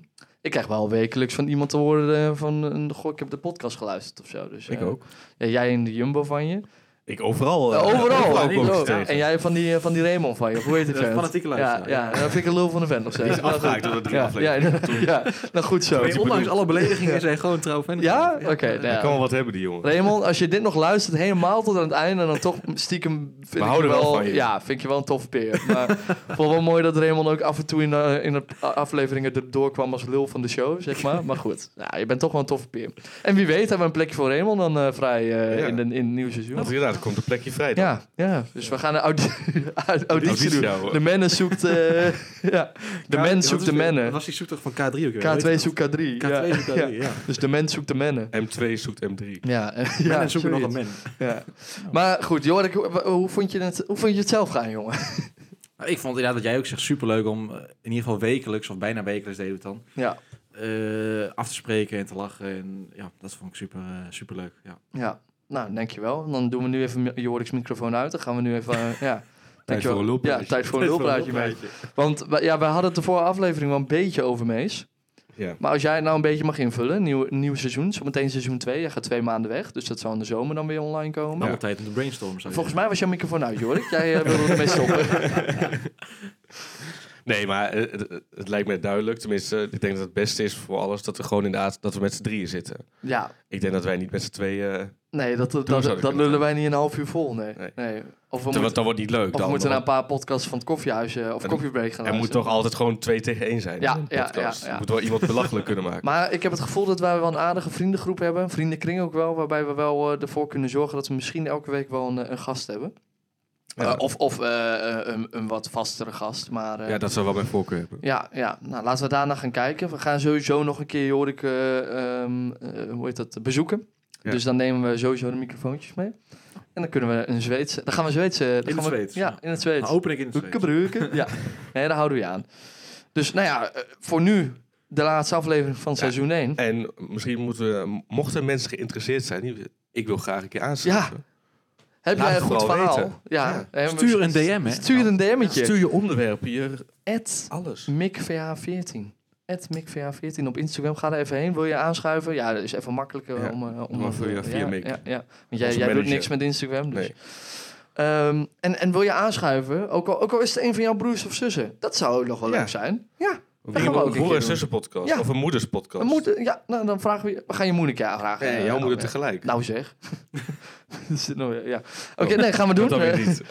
Speaker 1: ik krijg wel wekelijks van iemand te horen eh, van... een goh, ik heb de podcast geluisterd of zo. Dus,
Speaker 5: Ik
Speaker 1: eh,
Speaker 5: ook.
Speaker 1: ja, jij in de Jumbo van je.
Speaker 5: Ik overal.
Speaker 1: Eh,
Speaker 5: eh,
Speaker 1: overal.
Speaker 5: kom ik ze tegen.
Speaker 1: en jij van die, eh, van die Raymond van je. of Hoe heet het?
Speaker 2: Een fanatieke
Speaker 1: ja,
Speaker 2: luisteraar.
Speaker 1: ja, dat vind ik een lul van de vent of zo. Nou,
Speaker 3: Die is afgehaakt door de drie
Speaker 1: ja, ja,
Speaker 3: afleveringen.
Speaker 1: ja, ja, nou goed zo.
Speaker 2: Nee, ondanks alle beledigingen zijn gewoon trouw fan.
Speaker 1: Ja? Oké. nou ja.
Speaker 3: Kan wel wat hebben, die jongen.
Speaker 1: Raymond, als je dit nog luistert helemaal tot aan het einde, en dan toch stiekem vind
Speaker 3: We houden
Speaker 1: ik je
Speaker 3: wel van je.
Speaker 1: Ja, vind ik je wel een tof peer. Maar ik vond het wel mooi dat Raymond ook af en toe in de, in de afleveringen erdoor kwam als lul van de show, zeg maar. Maar goed, ja, je bent toch wel een tof peer. En wie weet hebben we een plekje voor Raymond dan eh, vrij eh,
Speaker 3: Ja.
Speaker 1: in, de, in het nieuwe seizoen.
Speaker 3: Want inderdaad, er komt een plekje vrij. dan.
Speaker 1: Ja, ja, dus we gaan een audi- audi- auditie
Speaker 3: Auditie
Speaker 1: doen.
Speaker 3: houden.
Speaker 1: De mannen zoekt... eh, ja. De
Speaker 2: Ja,
Speaker 1: men
Speaker 2: dat
Speaker 1: zoekt
Speaker 2: is
Speaker 1: de
Speaker 2: weer-
Speaker 1: mannen.
Speaker 2: Dat was die zoektocht van K3 ook weer. weet je
Speaker 1: K2
Speaker 2: dat?
Speaker 1: zoekt K3.
Speaker 2: K2
Speaker 1: ja.
Speaker 2: zoekt K3,
Speaker 1: Ja.
Speaker 2: ja.
Speaker 1: Dus de mens zoekt de mannen.
Speaker 3: M2 zoekt M3.
Speaker 1: Ja, en
Speaker 2: Men
Speaker 1: ja,
Speaker 2: en zoeken nog
Speaker 1: zoiets.
Speaker 2: een men.
Speaker 1: Ja. Maar goed, Jorik, hoe, hoe vond je het, hoe vond je het zelf gaan, jongen?
Speaker 2: Maar ik vond inderdaad wat jij ook zegt superleuk om eh, in ieder geval wekelijks of bijna wekelijks deden we het dan
Speaker 1: Ja,
Speaker 2: eh, af te spreken en te lachen en ja dat vond ik super super leuk. Ja.
Speaker 1: ja. nou, dankjewel. Dan doen we nu even mi- Jorik's microfoon uit. Dan gaan we nu even, eh, ja.
Speaker 3: Tijd voor een
Speaker 1: Ja,
Speaker 3: lulpraatje.
Speaker 1: tijd voor een lulpraatje, mee. Want we- ja, we hadden het de vorige aflevering wel een beetje over Mees.
Speaker 3: Ja.
Speaker 1: Maar als jij het nou een beetje mag invullen, nieuw, nieuw seizoen, zometeen seizoen 2. Jij gaat twee maanden weg, dus dat zou in de zomer dan weer online komen.
Speaker 2: Nou, ja. tijd om te brainstormen. zou je
Speaker 1: Volgens mij
Speaker 2: zeggen.
Speaker 1: was jouw microfoon uit, Jorik. Jij eh, wilde ermee stoppen.
Speaker 3: Nee, maar eh, het, het- het lijkt mij duidelijk. Tenminste, ik denk dat het beste is voor alles dat we gewoon inderdaad dat we met z'n drieën zitten.
Speaker 1: Ja,
Speaker 3: Ik denk dat wij niet met z'n tweeën... eh,
Speaker 1: nee, dat, dat, dat,
Speaker 3: zouden
Speaker 1: dat
Speaker 3: kunnen.
Speaker 1: lullen wij niet een half uur vol, nee. nee.
Speaker 3: Nee.
Speaker 1: Of we
Speaker 3: want
Speaker 1: moeten,
Speaker 3: dan wordt het niet leuk.
Speaker 1: of we
Speaker 3: dan,
Speaker 1: moeten naar een
Speaker 3: want
Speaker 1: paar podcasts van het koffiehuis eh, of
Speaker 3: En-
Speaker 1: koffiebreak gaan
Speaker 3: er moet
Speaker 1: luisteren.
Speaker 3: toch altijd gewoon twee tegen één zijn.
Speaker 1: Ja,
Speaker 3: in een
Speaker 1: ja,
Speaker 3: podcast.
Speaker 1: ja, ja.
Speaker 3: Je moet wel iemand belachelijk kunnen maken.
Speaker 1: Maar ik heb het gevoel dat wij wel een aardige vriendengroep hebben. Vriendenkring ook wel. Waarbij we wel eh, ervoor kunnen zorgen dat we misschien elke week wel een, eh, een gast hebben.
Speaker 3: Ja.
Speaker 1: Eh, of of eh, eh, een, een wat vastere gast. Maar, eh,
Speaker 3: ja, dat zou wel mijn voorkeur hebben.
Speaker 1: ja, ja. Nou, laten we daarna gaan kijken. We gaan sowieso nog een keer Jorik eh, ehm, eh, hoe heet dat, bezoeken.
Speaker 3: Ja.
Speaker 1: Dus dan nemen we sowieso de microfoontjes mee. En dan kunnen we een Zweedse... Dan gaan we Zweedse... dan
Speaker 2: het
Speaker 1: gaan we-
Speaker 2: Zweeds,
Speaker 1: Ja,
Speaker 2: ja.
Speaker 1: in het Zweeds.
Speaker 2: Nou, open ik in het
Speaker 1: Hukke
Speaker 2: Zweeds.
Speaker 1: breuken. Ja, nee, daar houden we je aan. Dus nou ja, eh, voor nu de laatste aflevering van seizoen 1.
Speaker 3: En misschien moeten we, mochten mensen geïnteresseerd zijn, die- ik wil graag een keer aansluiten.
Speaker 1: Heb
Speaker 3: Laat
Speaker 1: jij een
Speaker 3: het
Speaker 1: goed
Speaker 3: vooral
Speaker 1: verhaal?
Speaker 3: weten.
Speaker 1: Ja.
Speaker 3: Ja.
Speaker 1: Eh, maar
Speaker 2: Stuur een DM hè.
Speaker 1: Stuur een DM'tje.
Speaker 3: je onderwerpen, je
Speaker 1: At
Speaker 3: alles.
Speaker 1: MikVH14. At MikVH14 op Instagram. Ga er even heen. Wil je aanschuiven? Ja, dat is even makkelijker
Speaker 3: Ja,
Speaker 1: om... eh, om
Speaker 3: maar via-
Speaker 1: ja,
Speaker 3: via Mick.
Speaker 1: Ja, ja. Want jij,
Speaker 3: Onze
Speaker 1: jij doet
Speaker 3: manager.
Speaker 1: niks met Instagram. Dus.
Speaker 3: Nee.
Speaker 1: Ehm, en, en wil je aanschuiven? Ook al, ook al is het een van jouw broers of zussen. Dat zou nog wel
Speaker 3: Ja.
Speaker 1: leuk zijn. Ja.
Speaker 3: We
Speaker 1: gaan we ook een
Speaker 3: een
Speaker 1: keer
Speaker 3: broer- en
Speaker 1: doen.
Speaker 3: zussenpodcast.
Speaker 1: Ja.
Speaker 3: Of een moederspodcast.
Speaker 1: We moeten, ja nou, dan vragen we... je- We gaan je moeder een keer aanvragen.
Speaker 3: Nee,
Speaker 1: Eh,
Speaker 3: jouw
Speaker 1: dan
Speaker 3: moeder
Speaker 1: weer.
Speaker 3: tegelijk.
Speaker 1: Nou zeg. Dat zit nog nou weer- ja. Oké, nee, gaan we doen.
Speaker 3: dat dan
Speaker 1: Eh,
Speaker 3: weer niet.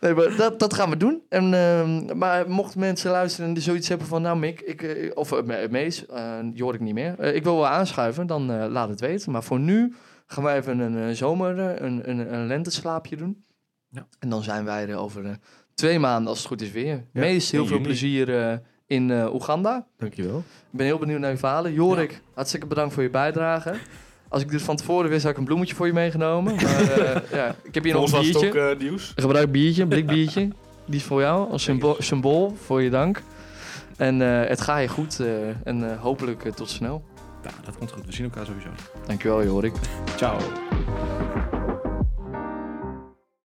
Speaker 1: Nee, maar dat, dat gaan we doen. En, ehm, maar mochten mensen luisteren en die zoiets hebben van... Nou Mick, ik, eh, of eh, Me- Mees, eh, Jorik niet meer. eh, ik wil wel aanschuiven, dan eh, laat het weten. Maar voor nu gaan wij even een eh, zomer, eh, een, een, een lenteslaapje doen.
Speaker 2: Ja.
Speaker 1: En dan zijn wij er over eh, twee maanden, als het goed is, weer.
Speaker 3: Ja,
Speaker 1: Mees, heel
Speaker 3: in
Speaker 1: veel
Speaker 3: juni.
Speaker 1: plezier eh, in eh, Oeganda.
Speaker 3: Dankjewel.
Speaker 1: Ik ben heel benieuwd naar je verhalen. Jorik, hartstikke bedankt voor je bijdrage. Als ik dit van tevoren wist, had ik een bloemetje voor je meegenomen. Maar eh, ja, ik heb hier nog
Speaker 3: Ons
Speaker 1: een
Speaker 3: was het
Speaker 1: biertje.
Speaker 3: ook eh, nieuws.
Speaker 1: Een Gebruik biertje, een blik biertje. Die is voor jou als symbool, symbool voor je dank. En eh, het gaat je goed eh, en eh, hopelijk eh, tot snel.
Speaker 2: Ja, dat komt goed. We zien elkaar sowieso.
Speaker 1: Dankjewel Jorik.
Speaker 2: Ciao.